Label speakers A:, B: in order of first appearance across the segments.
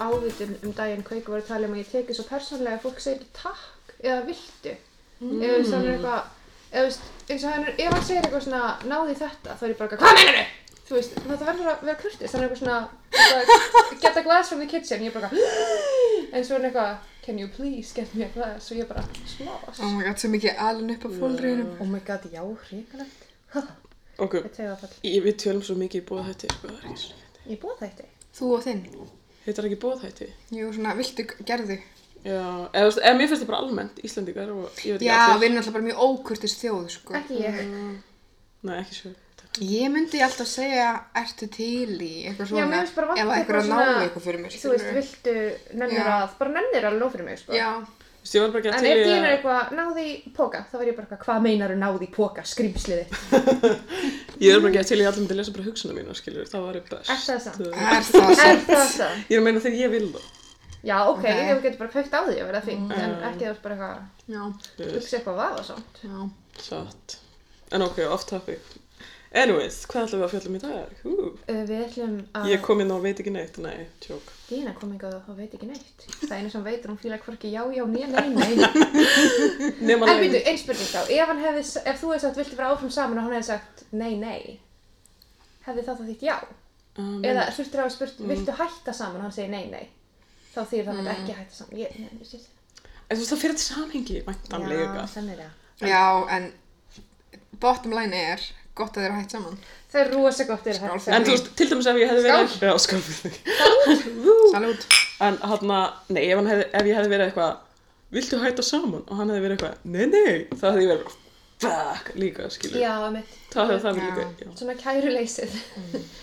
A: ávitun um daginn kveiku var að tala um að ég teki svo persónlega að fólk segir ekki takk eða viltu eða veist, hann er eitthvað eða veist, eins og hann er, ef hann segir eitthvað svona náði þetta, þá er ég bara eitthvað, hvað meinar þau? Þú veist, þetta verður að vera kurtis, hann er eitthvað svona eitthvað, get a glass from the kitchen, ég er bara eitthvað en svo er hann eitthvað, can you please get me a glass og ég bara, smás
B: Oh my god, sem ekki alin upp af fólriðinu.
A: Oh my god, já, hrikalegt Ég
C: Ok,
A: tegði það fall,
C: ég, við tölum svo mikið í bóðhætti, sko, það er ekki svo fyndið.
A: ég búið þetta
B: Þú og þinn.
C: Heitir það ekki bóðhætti?
B: Jú, svona, viltu gerðu?
C: Já, eða, þú veist, eða mér finnst það bara almennt, Íslandingar og ég veit ekki
B: Já, við
C: allir.
B: erum alltaf bara mjög ókurtis þjóð, sko.
A: ekki ég
C: Nei, ekki svo.
B: Ég myndi alltaf segja, ertu til í eitthvað
A: Já, mér
B: svona,
A: finnst bara
B: ef
A: vant
B: að eitthvað náðu eitthvað fyrir mér.
A: Þú veist,
B: skilurðu.
A: viltu, nennir
B: Já.
A: að, bara nennir að nóg fyrir mig, sko
B: Já,
C: Þú veist, ég var bara ekki
A: En
C: að
A: ef
C: til
A: ég
C: í
A: er
C: að...
A: eitthvað, náði póka, þá var ég bara eitthvað, hvað meinar náði póka, skrýmsliði
C: Ég var bara ekki að til í að allir myndi lesa bara hugsunum mína, skiljur, það var best.
A: Er það samt?
C: Þú veist.
B: er það sko. svo.
A: Er það það?
C: Ég er að meina þegar ég vil það.
A: Já, ok, Mm.
B: Ok.
A: okay. þú getur bara kveikt á því að verða fínt, en ekki þú ert bara eitthvað,
B: Já,
C: Þú veist.
A: hugsa eitthvað vafa samt.
B: já.
C: Satt. En ok, off topic. Anyways, hvað ætlum við að fjalla um í dag? Hú.
A: Uh, við ætlum að
C: Ég kom inn og veit ekki neitt, nei, tjók.
A: Dína kom hingað og hún veit ekki neitt. Það einu sem veitur, hún fýlar hvorki já, já, nýja, nei, nei.
C: Nefn
A: en býtu, einn spurning þá, ef, hann hefði, s- ef þú hefði sagt, viltu vera áfram saman og hann hefði sagt, nei, nei, hefði það þá þitt já?
C: Um,
A: Eða þurftur að hafa spurt, viltu hætta saman og hann segir nei, nei, þá þýr það mm. ekki hætta saman. Ég, nei, ég,
C: En þú veist, það fyrir þetta samhengi, mæntanlega.
A: sennilega.
B: Já, en bottom line er, gott að þeir eru hægt saman.
A: Það er rosa gott til að hætta
C: En
A: saman.
C: þú veist, til dæmis ef ég hefði verið... Skál! Já, skál fyrir þig.
B: Salút.
C: En hann nei, ef, hann hefði, ef ég hefði verið eitthvað, viltu hætta saman? Og hann hefði verið eitthvað, nei, nei, þá hefði ég verið bara, fuck, líka, skilur.
A: Já, mitt,
C: Það hefði það verið
B: Já.
C: líka, já.
A: svona kæruleysið.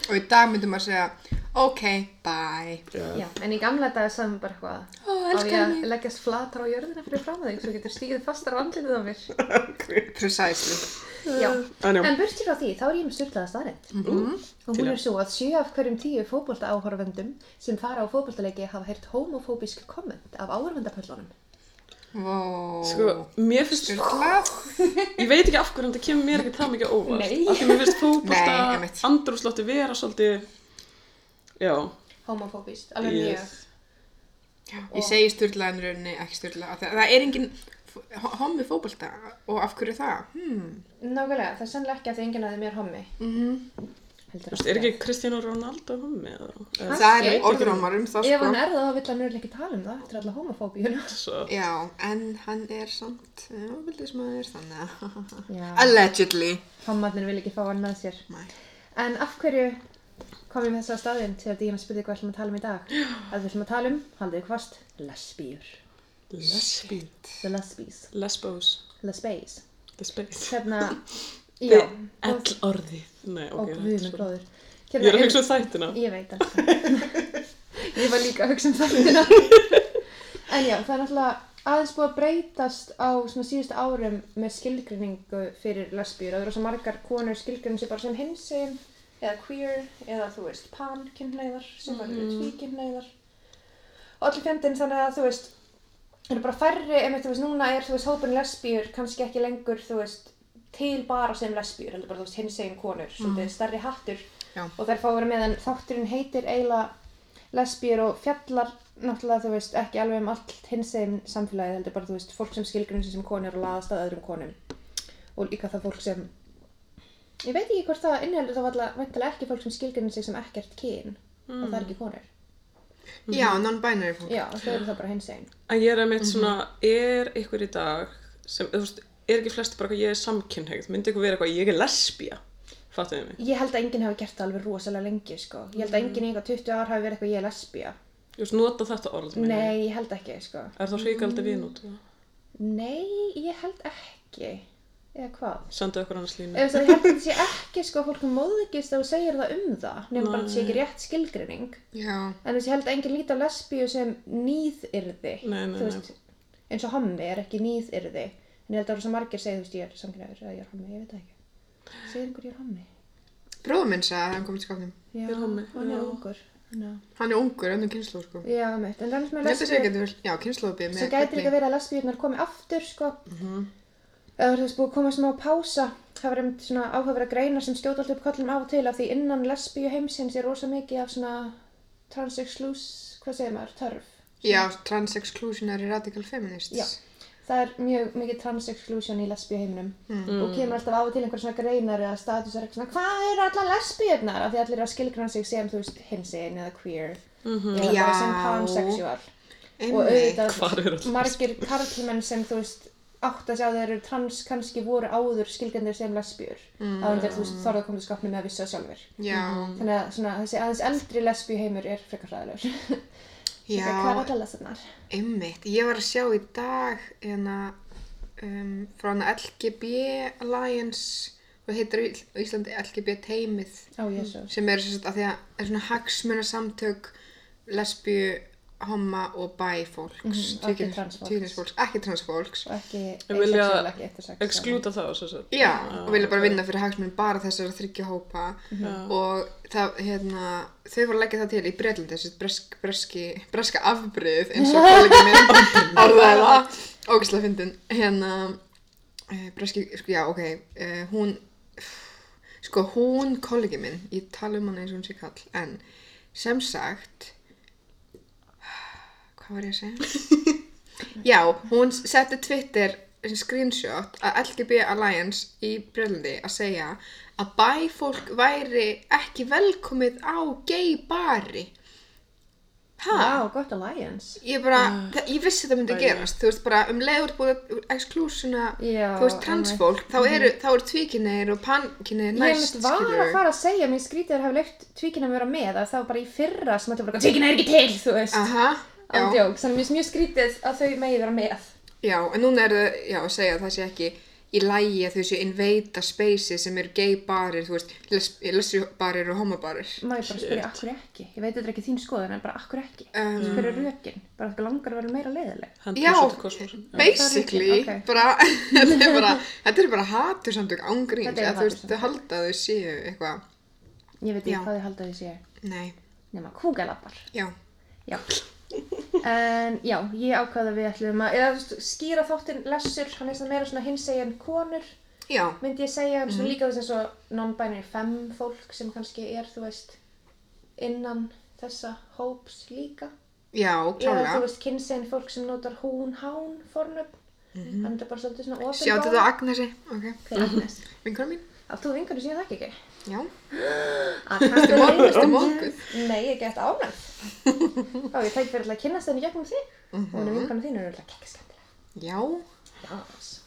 B: Og í dag myndum maður segja, ok, bye.
A: Já, en í gamla daga sagðum við bara eitthvað
B: Ó,
A: á ég
B: elskar
A: að
B: mig.
A: leggjast flatar á jörðina fyrir fram þig svo getur stíðið fastar á andlitið á mér
C: Ok.
B: Precisely.
A: Já,
C: En já, Mm.
A: en burti frá því, þá er ég með styrlaða staðrænt og hún
C: Til
A: er svo að sjö af hverjum tíu fótbolta áhorfendum sem fara á fótboltaleiki hafa heyrt homofóbisk komment af áhorfendapöllunum
B: Vó.
C: sko, mér finnst,
B: Sturlað.
C: ég veit ekki af hverju, en það kemur mér ekki það mikið á óvart.
A: Nei.
C: Af því mér finnst
B: Nei,
C: fókbólta,
B: einmitt.
C: andrúslótti vera svolítið, já.
A: homofóbist, alveg
C: yes.
B: Ég segi styrlað en í rauninni ekki styrlað. Það, það er engin f- homi fókbalta og af hverju það? Hmm.
A: mjög Nákvæmlega, það er sannlega ekki að því enginn að þið mér hommi
B: Mm
A: Mhm.
C: Þú veist, er ekki Kristján og Ronaldo hommi eða? eða-
B: Það
A: Kannski.
B: er orðrómar um það
A: Ef
B: sko.
A: hann er það, þá vill hann nörðlega ekki tala um það eftir alla homofóbíuna
C: Svo,
B: Já, en hann er samt ofildismæður þannig að...
A: Já,
B: Allegedly.
A: hommarnir vil ekki fá hann með sér
B: Nei.
A: En af hverju kom ég með þessa staðinn til að Díana spurði hvað ætlum að tala um í dag? Að við ætlum að tala um, haldið ykkur fast, lesbíur.
C: lesbí,
A: The lesbies.
C: lesbos,
A: Lesbeis.
C: lesbís.
A: Hérna, já.
C: Ell orðið. Nei,
A: Og
C: ok, þetta er
A: guðinu
C: svo-
A: bróður.
C: Ég
A: Hérna,
C: er að hugsa um þættina.
A: Ég veit alltaf. ég var líka að hugsa um þættina. en já, það er náttúrulega aðeins búið að breytast á svona síðustu árum með skilgrinningu fyrir lesbíur. Það eru svo margar konur skilgrinning sem bara sem hinsegin eða queer eða þú veist pan-kynhneigðar sem eru mm. tvíkynhneigðar og allir fjöndin þannig að þú veist eru bara færri, emitt þú veist núna er þú veist hópurinn lesbíur kannski ekki lengur þú veist til bara sem lesbíur heldur bara þú veist hinsegin konur, svolítið stærri hattur
B: Já.
A: og þær fá að vera með en þátturinn heitir eiginlega lesbíur og fjallar náttúrulega þú veist ekki alveg um allt hinsegin samfélagið heldur bara þú veist fólk sem skilgrunum sem konur og laðast að öðrum konum og líka það fólk sem ég veit ekki hvort það innheldur þá var alltaf ekki fólk sem skilgrunum sig sem ekkert kyn og það er ekki konur
B: Mhm. Já, non-binary fólk.
A: já þau eru þá bara hinsegin
C: En ég er
A: Mhm.
C: að mitt svona, er ykkur í dag sem, þú veist, er ekki flest bara eitthvað ég er samkynhægt, myndi ykkur vera eitthvað ég er lesbía, fattuðu mig?
A: Ég held að enginn hafi gert það alveg rosalega lengi, sko. Ég held að enginn í eitthvað 20 ár hafi verið eitthvað ég er lesbía.
C: Þú veist, nota þetta orð, meina ég.
A: Nei, Mm. ég held ekki, sko.
C: Er það hrikaldi við nút?
A: Nei, ég held ekki. Eða hvað?
C: Sendu okkur annars línu.
A: Eða þess að ég held að þetta sé ekki, sko, að fólk móðgist ef þú segir það um það, nefnum bara að þetta sé ekki rétt skilgrinning.
B: Já.
A: En þess að ég held að enginn líti á lesbíu sem nýðyrði.
C: Nei, nei,
A: Þú veist, eins og hommi er ekki nýðyrði. En ég held að það eru svo margir segið, þú veist, ég er samkynhneigður eða ég er hommi, ég veit það ekki. Segir einhver ég er hommi?
B: Bróður minn sagði að hann komið til skapnum.
A: Já,
C: er hommi,
A: hann
C: já.
A: er ungur. Já,
B: Hann er ungur, önnum kynnslóð sko.
A: já mitt. En þannig sem
B: Ég held að segja ekki að það já, kynnslóðbið með... Mhm.
A: Svo gæti líka verið að lesbíurnar komi aftur, sko. Eða þú veist, búið að koma smá pása. Það var einmitt svona áhugaverða greinar sem skjóta alltaf upp kollum af og til af því innan lesbíu heimsins er rosa mikið af svona trans-exclus, hvað hvað segir maður, törf.
B: Já, trans-exclusionary radical feminist.
A: Já. Það er mjög mikið trans-exclusion í lesbíu heiminum
B: Mhm.
A: og kemur alltaf á og til einhver svona greinar eða statusar eitthvað svona hvað eru allar lesbíunar af því allir eru að skilgrann sig sem þú veist hinsinn eða queer eða bara sem
B: Mhm.
A: pansexual
B: Já.
A: og
B: Einmitt.
C: Hvar eru allar
A: auðvitað margir karlmenn sem þú veist átt að sjá þeir eru trans kannski voru áður skilgrandir sem lesbíur mm. áður en þeir þú veist þorða að koma til skapnum með að vissu það sjálfur
B: Já,
A: þannig að svona, þessi aðeins eldri lesbíu heimur er frekar hræðilegur hvað er
B: já,
A: allar lesbíunar?
B: einmitt. Ég var að sjá í dag hérna um, frá hana LGB Alliance, hvað heitir á Íslandi LGB teimið.
A: Ó, jésús
B: sem eru sérst að því að er svona hagsmuna samtök lesbíu, homma og bæ fólks
A: Mhm, og ekki
B: tvíkyns-
A: transfólks.
B: tvíkynsfólks, ekki transfólks
A: og ekki
C: Ég vilja
A: asexual, ekki heterosexual.
C: Exklúta þá, svo sett.
B: já, og vilja bara vinna fyrir hagsmunum bara þessara þryggja hópa og það, hérna, þau voru að leggja það til í Breitlandi, þessi bresk, breski breska afbrið eins og kollegi minn orðaði það, ógæslega fyndin hérna eh, breski, sko, já, ok eh, hún sko hún kollegi minn, ég tala um hana eins og hún sé kall en sem sagt hvað var ég að segja? já, hún setti Twitter sem screenshot að LGB Alliance í Brelandi að segja að bæfólk væri ekki velkomið á gay bari hæ?
A: Vá, gott alliance
B: Ég bara,
A: Ah,
B: uh, ég vissi þetta myndi
C: Bæði.
B: gerast, þú veist bara um leiður búið exklusuna,
A: Já, Mhm.
B: þú veist transfólk, þá eru, þá eru tvíkinneir og pankinneir
A: Ég
B: næst,
A: mitt var að fara að segja, mér skrítið að hafa leikt tvíkina að vera með að það var bara í fyrra sem þetta var bara tvíkina er ekki til, þú veist
B: Aha,
A: án
B: Ah, já,
A: djók, þannig mér finnst mjög skrítið að þau megi vera með
B: já, en núna eru þau, já, að segja að það sé ekki í lægi að þau séu invata spaces sem eru gay barir, þú veist, les, lesbibarir og homobarir.
A: Má ég bara spyrja, akkur ekki? Ég veit þetta er ekki þín skoðun, en bara akkur ekki?
B: Um.
A: Hver er rökin? Bara okkur langar að vera meira leiðileg
C: Hendur
B: Já,
C: svo til kosmosun.
B: basically,
A: Ok.
B: bara, þetta er bara, þetta er bara hatur samtök ángríns,
A: Þetta eru
B: að þú veist, þau
A: hatursamtök.
B: halda að þau séu eitthvað,
A: Ég veit ekki
B: Já.
A: hvað þið halda að þið sé
B: nei,
A: nema kúgalappar
B: já,
A: Já En já, ég ákvaða við ætlum að eða, þú veist, skýra þáttinn lessur, hann er svona meira svona hinsegin konur
B: já,
A: myndi ég segja, en svo
B: Mm.
A: líka þess að svo non-binary femme fólk sem kannski er, þú veist, innan þessa hóps líka.
B: já,
A: Eða þú
B: klálega.
A: veist, kynsegin fólk sem notar hún, hán, fornöfn. Þannig er bara svolítið svona ofinbáð.
B: Sjáttu Mhm. þetta á Agnesi, ok,
A: Hver er Agnes?
B: vinkona mín,
A: Átt þú vingunni sem ég þekki ekki?
B: já,
A: Agnes, þú
B: mong- ertu monguð?
A: Nei, ég get ánægð. Þá ég tæk fyrir að kynnast henni gegnum þig. Og hún er vingunni þín, hún er alltaf ekki skemmtilega.
B: já,
A: Jás.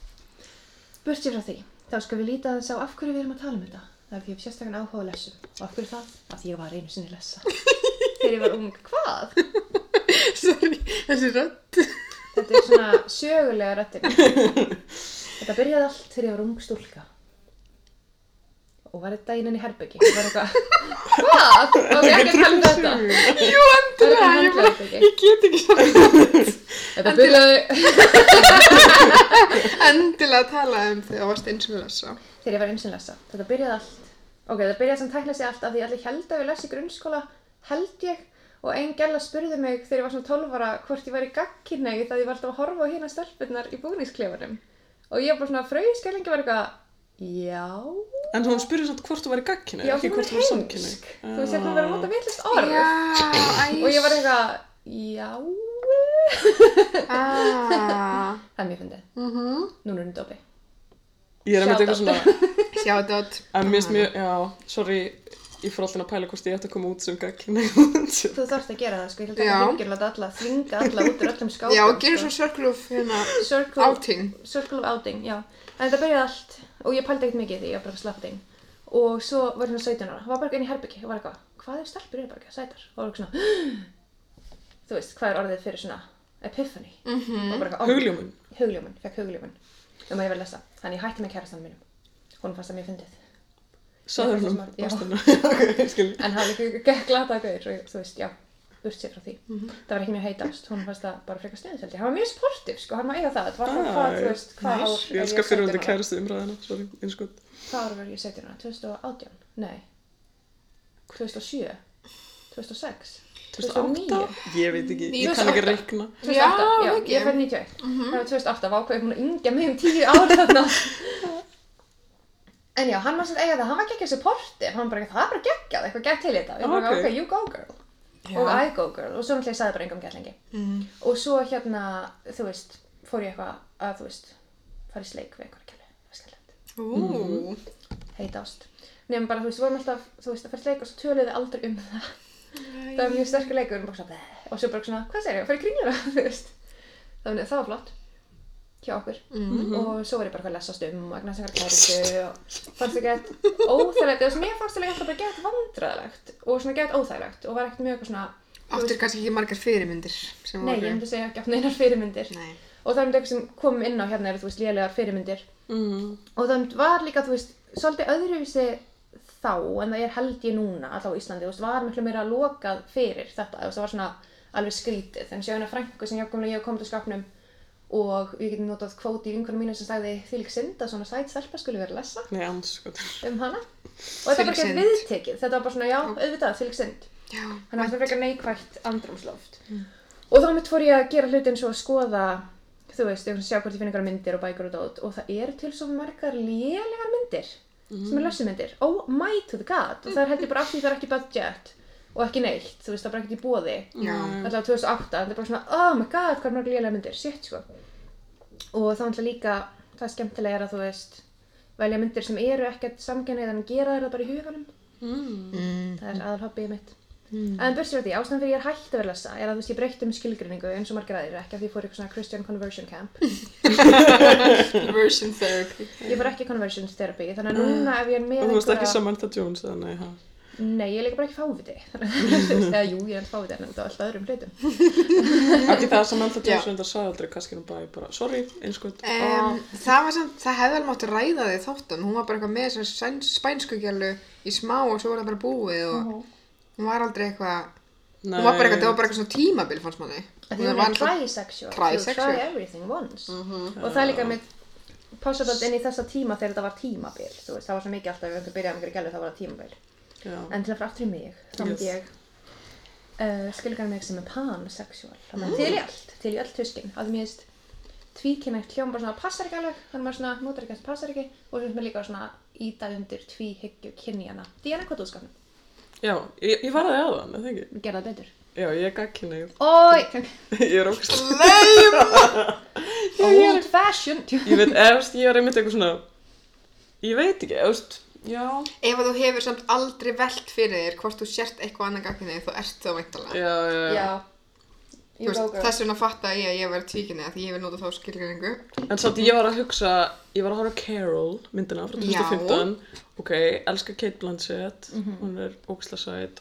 A: Burt sér frá því, þá skal við líta aðeins á af hverju við erum að tala um þetta. Það er því ég hef sérstakann áhuga á lessum. Og af hverju það? Af því ég var einu sinni lessa. Þegar ég var ung, hvað?
B: sorry, þessi rödd,
A: Þetta er svona sögulega röttin. Þetta byrjaði allt þegar ég var ung stúlka. Og var þetta innan í herbyggi. Það var eitthvað, hvað? Og ég ekki að tala um þetta.
B: jú, endilega,
A: Það er
B: ég bara,
A: handlaðið,
B: ég get ekki svona,
A: Þetta byrjaði
B: endilega að tala um þegar það varst eins og lesa,
A: þegar ég var einu sinni lessa. Þetta byrjaði allt. Ok, þetta byrjaði sem tækla sig allt af því allir held að við lesa í grunnskóla, held ég. Og einn gæla spurði mig þegar ég var svona 12 ára hvort ég væri gagkinnegi það ég var alltaf að horfa á hérna stelpunnar í búningsklefanum. Og ég var bara svona frauðskellingi var eitthvað, já,
C: En hún spurði samt hvort þú væri gagkynni,
A: Já,
C: ekki
A: hún er
C: hvort þú væri samkynni.
A: heimsk. Þú veist, hérna verður að nota vitlist orð.
B: já, æs,
A: Og ég var eitthvað, já.
B: ah,
A: Það er mjög fyndið.
B: mhm,
A: Núna er hún dopi.
C: Ég er að mynda eitthvað
A: Shout
C: svona,
B: sjáttu átt,
C: en mér finnst mjög, já, sorry, ég fór alltaf að pæla hvort ég ætti að koma út sem gagkynni.
A: Þú þarfst að gera það, sko. Ég held að
B: Já.
A: það hengir láta alla, þvinga alla út úr öllum skápum. sko.
B: já, gerum svo circle of, hérna,
A: circle,
B: outing,
A: circle of outing, já. En þetta byrjaði allt og ég pældi ekkert mikið í því, ég var bara slappt einn. Og svo var hérna 17 ára, var bara inn í herbyggi og var eitthvað, hvað er stelpur eru bara ekki að sætar? Og var eitthvað svona, þú veist, hvað er orðið fyrir svona epiphany? Mm -hmm. Og bara eitthvað, ó,
C: Hugljómun.
A: hugljómun, fekk hugljómun um að ég var að lesa, þannig ég hætti með kærastanum mínum hún fannst það mjög fyndið
C: Saður
A: Ég
C: hún,
A: fannst það
C: bastunum. Ok, skil.
A: en hann er ekki glata að gauður og þú veist, já, burt sér frá því það var ekki mjög heitast, hún fannst það bara frekar sniðið held ég, hann var mjög sportiv, sko, hann var eiga það það var bara hvað, þú veist, hvað ár
C: Ah, Ég
A: er
C: elskar fyrir
A: 17
C: hundi
A: ára?
C: kærustu umræðina, sorry, innskot.
A: hvað ár var ég 17 ára, 2018, nei 2007 2006 2009
C: Ég veit ekki, ég kann ekki
A: 2008.
C: reikna.
A: 2008,
B: Já, Mhm.
A: já,
B: ekki.
A: ég fætt 91 það var 2008, vá hvað ég er búin að yngja mig um 10 ára þarna en já, hann var sem eiga það, hann var ekki ekki supportive hann var bara, það er bara geggjað, eitthvað gegg til í þetta ég bara,
C: Ok.
A: ok, you go girl og I Go Girl og svo náttúrulega ég sagði bara engum gætlengi
B: Mhm.
A: og svo hérna, þú veist, fór ég eitthvað að, þú veist, fara í sleik við einhverja kælu, það var skemmtilegt,
B: Ú,
A: Mhm. heita ást nefnum bara, þú veist, við vorum alltaf, þú veist, að fara í sleik og svo töluðu við aldrei um það það
B: Æ.
A: var mjög sterkur leikur og bara svona, "Bleh." og svo bara svona, hvað segir ég, fara í kringluna, þú veist þannig að það var flott hjá okkur
B: Mhm.
A: og svo var ég bara hvað að lesast um og eignast einhverja kæritu og fannst það gett óþægilegt eða sem ég fannst það alltaf bara gett vandræðilegt og svona gett óþægilegt og var ekkert mjög eitthvað svona
B: Áttir kannski ekki margar fyrirmyndir sem
A: nei,
B: voru.
A: ég myndi segja ekki átt neinar fyrirmyndir
B: Nei.
A: og það er eitthvað sem kom inn á hérna eru þú veist lélegar fyrirmyndir
C: Mm.
A: og það var líka, þú veist, svolítið öðruvísi þá en það er held ég núna alltaf á Íslandi, þú veist, var miklu meira lokað fyrir þetta, þú veist, það var svona alveg skrítið, en sjáina frængu sem jafnkomlega ég kom til skapnum og ég geti notað kvóti í vinkunum mínu sem sagði því lík synd að svona sæt stelpa skulle vera að lesa
C: Nei, anskotan.
A: um hana og þetta var
B: Þvílík
A: ekki
B: synd.
A: viðtekið, þetta var bara svona já, auðvitað, þvílík synd
B: Já.
A: þannig að það frekar neikvægt andrumsloft og þá mitt fór ég að gera hluti eins og að skoða þú veist, ég var að sjá hvort ég finn einhverjar myndir og bækur og dót og það eru til svo margar lélegar myndir sem er lössumyndir, oh my to the god og það er held ég bara af því það er ekki budget og ekki neitt, þú veist, það er bara ekki í bóði
B: Já.
A: alltaf 2008, það er bara svona oh my god, hvað er mörg lélega myndir, shit sko og þá náttúrulega líka það er skemmtilega er að þú veist velja myndir sem eru ekkert samgenið en gera þér það bara í huganum
C: Mm.
B: Mm.
A: það er aðal hobbyið mitt
C: Hmm.
A: en börsir á því, ástæðan fyrir ég er hægt að vera að lesa er að þú veist ég breytt um skilgrinningu eins og margir aðrir ekki að því ég fór í eitthvað svona Christian conversion camp
B: Version therapy.
A: ég fór ekki í conversion therapy þannig að núna ef ég er með
C: Og þú veist ekki Samantha Jones eða nei, ha?
A: nei, ég er líka bara ekki fáviti þannig að þú veist, eða jú, ég er ekki fáviti en það er alltaf öðrum hlutum
C: Ekki það að Samantha
B: Já.
C: Jones reyndar sagði aldrei kannski hún bara, bara sorry, einskot.
B: Um, það var samt, það hefði alveg mátt að ræða þig þóttan, hún var bara eitthvað með þessar sæns- spænsku gælu í smá og svo var það bara búið og hún var aldrei eitthvað, hún var bara eitthvað, það var bara eitthvað svona tímabil fannst manni.
A: að því hún er trisexual so
B: Trisexual.
A: try everything once
C: Mhm.
A: og það er líka mitt passa þetta inn í þessa tíma þegar þetta var tímabil þú veist, það var svo mikið alltaf ef einhver byrjaði með einhverju gælu þá var það tímabil
C: Já.
A: en til að fara aftur í mig, þá myndi
C: Yes.
A: ég uh, skilgar mig sem er pansexual þannig að til í allt, til í allt tuskin að mér veist tvíkynægt hljóm bara svona passar ekki alveg þannig að maður svona notar ekki að það passar ekki og svo finnst mér líka svona ídað undir tvíhyggju kynjana Díana, hvað þú skapnum?
C: Já, ég, ég var aðeins aðan, eða ekki?
A: Gerða það betur
C: Já, ég er gagkinni.
A: Ói,
C: Ég er ógst.
A: old fashioned
C: Ég veit, efst, ég er einmitt eitthvað svona, ég veit ekki, efst, já.
B: Ef að þú hefur samt aldrei velt fyrir þér hvort þú sért eitthvað annað gagkinni þú ert þá
C: Já,
B: veintalega.
C: já, já.
A: Já,
B: Þú
A: you go
B: veist,
A: girl
B: Þess vegna fatta ég að ég verið tvíkinni að því ég hef notað þá skilgreiningu.
C: En samt ég var að hugsa, ég var að horfa á Carol, myndina frá 2015, ok, elska Kate Blanchett, hún er ógslasæt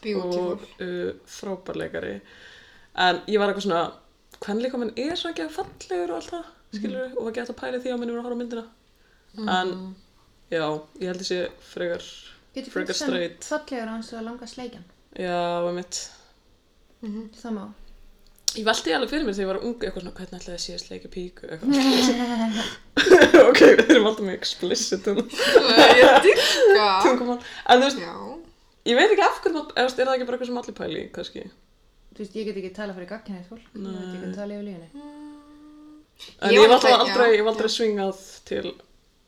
B: Mhm. Beautiful.
C: og uh, frábærleikari, en ég var eitthvað svona, hvernig líka minn er svona ekki að fallegur og allt það,
B: Mhm.
C: skilur við, og var gett að pæla í því að minn var að horfa á myndina, en já, ég held þessi frekar,
A: Getur
C: frekar
A: finnst sem
C: straight.
A: fallegur á hans og langa sleikjan
C: já, var mitt.
A: Það má
C: Ég velti alveg fyrir mér þegar ég var ung eitthvað svona, hvernig ætlaði að síðast leika píku eitthvað. ok, við erum alltaf með explicit um
B: ég dyrka.
C: tungumál. En þú veist,
B: Já.
C: Ég veit ekki af hverju, maður- eða þú veist, er það ekki bara eitthvað sem allir pæli, í, kannski?
A: Þú veist, ég get ekki tala fyrir gagkinnið fólk Ég get ekki tala yfir lífinu
C: En
B: Ég
C: ég,
B: var
C: var alltaf
B: alltaf-
C: aldrei,
B: já,
C: ég var aldrei svingað til,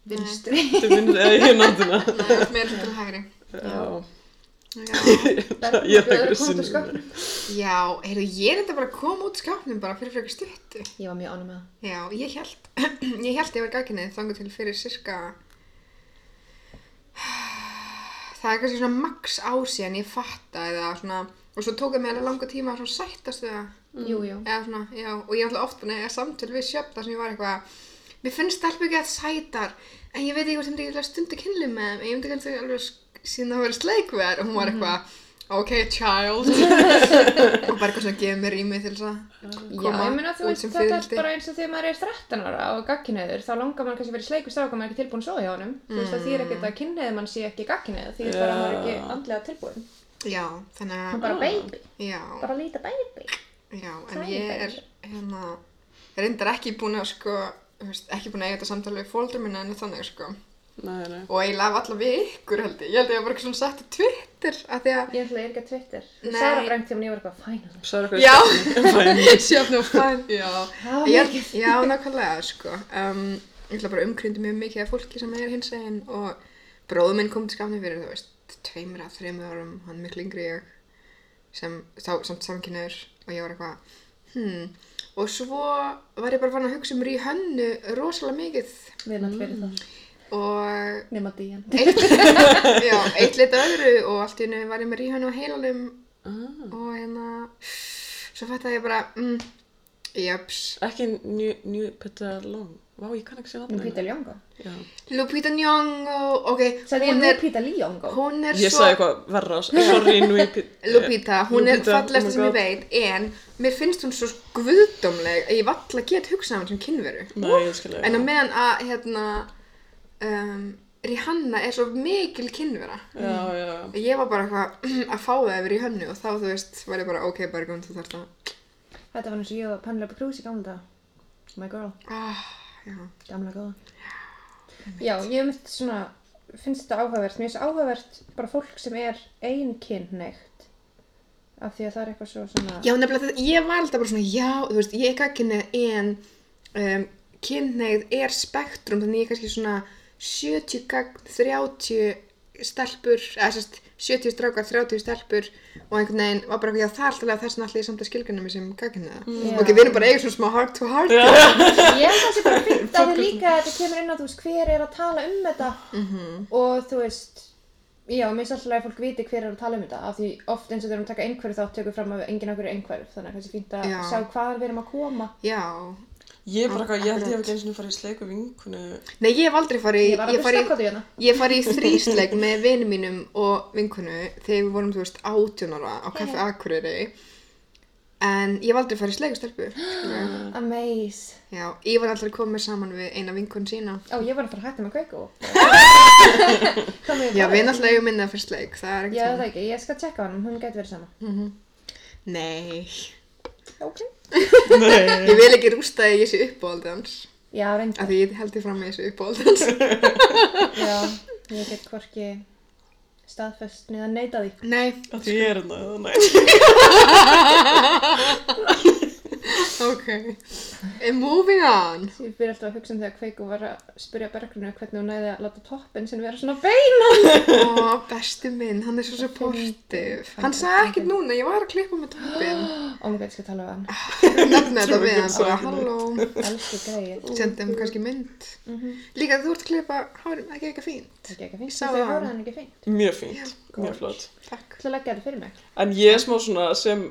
A: Vinstri
C: til minni, eða ég náttuna.
B: Nei, þú ert meira svona til hægri.
C: Já,
B: Já,
C: ég er
A: Bergur
C: ekki
A: kom til
C: sinnum.
A: sköpnum.
B: já heyrðu, ég er þetta bara að koma út skápnum bara fyrir fyrir stuttu.
A: Ég var mjög ánum með það.
B: Já, ég held, ég held ég var gagkinnið þangu til fyrir sirka, það er kannski svona max ár síðan ég fattaði það svona, og svo tók það mig alveg langa tíma að svona sættast við það.
A: Jú, jú.
B: eða svona, já, og ég ætla oft að samtöl við sjöfn þar sem ég var eitthvað mér finnst stelpur ekki að sætar en ég veit ekki hvort sem þetta er stundu kynlu með þeim en ég myndi kannski alveg sk- síðan það verið sleik við þær og hún var eitthvað ok child og bara eitthvað svona gefið mér rými til þess að
A: Já,
B: koma
A: ég meina þú
B: út
A: veist,
B: sem
A: þetta er
B: fyrirldi
A: bara eins og þegar maður er 13 ára og gagkinneiður, þá langar maður kannski verið sleiku stráka maður er ekki tilbúin að sofa hjá honum. Þú veist, það þýr ekkert
B: Mm.
A: að kynneið mann sé ekki gagkinneiður, því yeah. bara að maður er ekki
C: Já.
A: andlega tilbúin.
B: já, þannig
A: Hann
B: að,
A: bara baby,
B: já,
A: bara líta baby.
B: já en
A: Sæl,
B: ég er
A: baby.
B: hérna, reyndar ekki búin að sko þú veist, ekki búin að eiga þetta samtali við fóldur minna en þannig sko
C: Nei, nei.
B: og eiginlega af alla við ykkur held ég ég held ég að bara eitthvað svona sett á Twitter af því að
A: Ég ætla að er ekki að Twitter.
B: Nei.
A: Þú sagði brengt þegar ég var eitthvað fæna.
C: Sæður eitthvað
B: Já.
C: Fæn.
B: sjöfn og fæn já,
A: Það var
B: ég,
A: mikið.
B: já nákvæmlega sko um, ég ætla bara umkryndi mjög mikið af fólki sem er hins einn og bróðum minn kom til skafni fyrir þú veist tveimur að þreimur árum, hann er miklu yngri en ég sem þá samt samkynnaður og ég var eitthvað hmm. og svo var ég bara fann að hugsa um Rihannu rosalega mikið
A: Við erum alltaf fyrir það.
B: og
A: Nefna Dían.
B: eitt, já, eitt leitt öðru og allt í hennu var ég með Rihannu á heilanum
C: Ah,
B: og hérna svo fattaði ég bara mm, jöps,
C: ekki Njúpeta Long. Vá, ég kann ekki segja nafnið.
A: Lupita Ljóngó.
C: Já.
B: Lupita Nyong'o ok,
A: Sæði ég
B: hún er,
A: Lupita Ljóngó?
B: hún er
C: Ég
B: svo
C: sagði eitthvað verra, sorry Njúpeta.
B: Lupita, hún
C: Lupita,
B: er
C: oh my
B: fallast sem ég
C: God.
B: veit en mér finnst hún svo guðdómleg að ég valla get hugsað hann sem kynveru
C: Nei, ég skilja.
B: en á meðan að hérna um, Rihanna er svo mikil kynvera
C: Já, já, já.
B: ég var bara eitthvað að fá það yfir í hönnu og þá þú veist var ég bara ok Bergrún þú þarft að
A: Þetta var eins og ég og Penelope Cruz í gamla dag. My girl.
B: ah, já,
A: Gamla góða. Já, ég hef mitt svona, finnst þetta áhugavert. Mér finnst áhugavert bara fólk sem er einkynhneigt. Af því að það er eitthvað svo svona...
B: já nefnilega þetta, ég var alltaf bara svona já þú veist ég er kakkinni en um, kynneið er spektrum þannig ég er kannski svona 70 gagn 30 stelpur eða sérst 70 strákar 30 stelpur og einhvern veginn var bara eitthvað já það er alltaf þess að allir ég samt að skilgjörnum sem kakkinni
A: Já.
B: ok við erum bara eigin svona smá heart to heart já.
A: Ég held að það sé bara fint að þið líka að þetta kemur inn á, þú veist, hver er að tala um þetta
B: Mhm.
A: -hmm. og þú veist, já, mér finnst alltaf að fólk viti hver er að tala um þetta af því oft eins og þegar við erum að taka einhverju þá tökum við fram að enginn okkur er einhverju þannig að það sé fínt að
B: Já.
A: sjá hvaðan við erum að koma
B: já
C: Ég er bara eitthvað, ég held ég hef
B: Ah, Akkurat.
C: ekki eins og farið í sleiku vinkunu.
B: Nei, ég hef aldrei farið
A: Ég var að
B: fari,
A: hlusta á hvað þú hérna.
B: Ég fari í þrísleik með vinum mínum og vinkunu þegar við vorum, þú veist, 18 ára á Kaffi Akureyri en ég hef aldrei farið í sleik og stelpur
A: Amaze
B: Já, ég var alltaf að koma mér saman við eina vinkun sína
A: Ó, ég var að fara að hætta með kveiku Komum við
B: Já, við náttúrulega eigum minna fyrir sleik, það er
A: Já,
B: ekkert
A: það er ekki, ég skal tjekka hann, hún gæti verið sama
B: svona Nei,
A: Ok
C: Nei.
B: ég vil ekki rústa því að ég sé uppáhaldans
A: Já, reyndar,
B: af því ég held ég fram að ég sé uppáhaldans
A: já, ég get hvorki staðfest niður að neyta því
B: Nei,
C: Það því ég er hérna, nei.
B: ok And Moving on
A: Ég byrja alltaf að hugsa um þegar Kveiku var að spyrja Bergrunu hvernig hún næði að láta toppin sinn vera svona beinan.
B: Ó, besti minn, hann er svo supportive. Hann sagði ekkert núna, ég var að klippa með toppin.
A: Ó, mér gæti skal tala við hann.
B: Nefna þetta við hann, bara
C: Sorry.
B: halló,
A: Elsku greið.
B: sendi hann kannski mynd.
C: Mhm.
B: Líka þú ert að klippa hárum, ekki eitthvað fínt.
A: Það er ekki fínt.
B: Sá
A: Það er
B: hann.
A: hárað hann ekki fínt.
C: Mjög fínt,
A: góð.
C: mjög flott.
B: Takk.
A: Það leggja þetta fyrir mig.
C: En ég er smá svona sem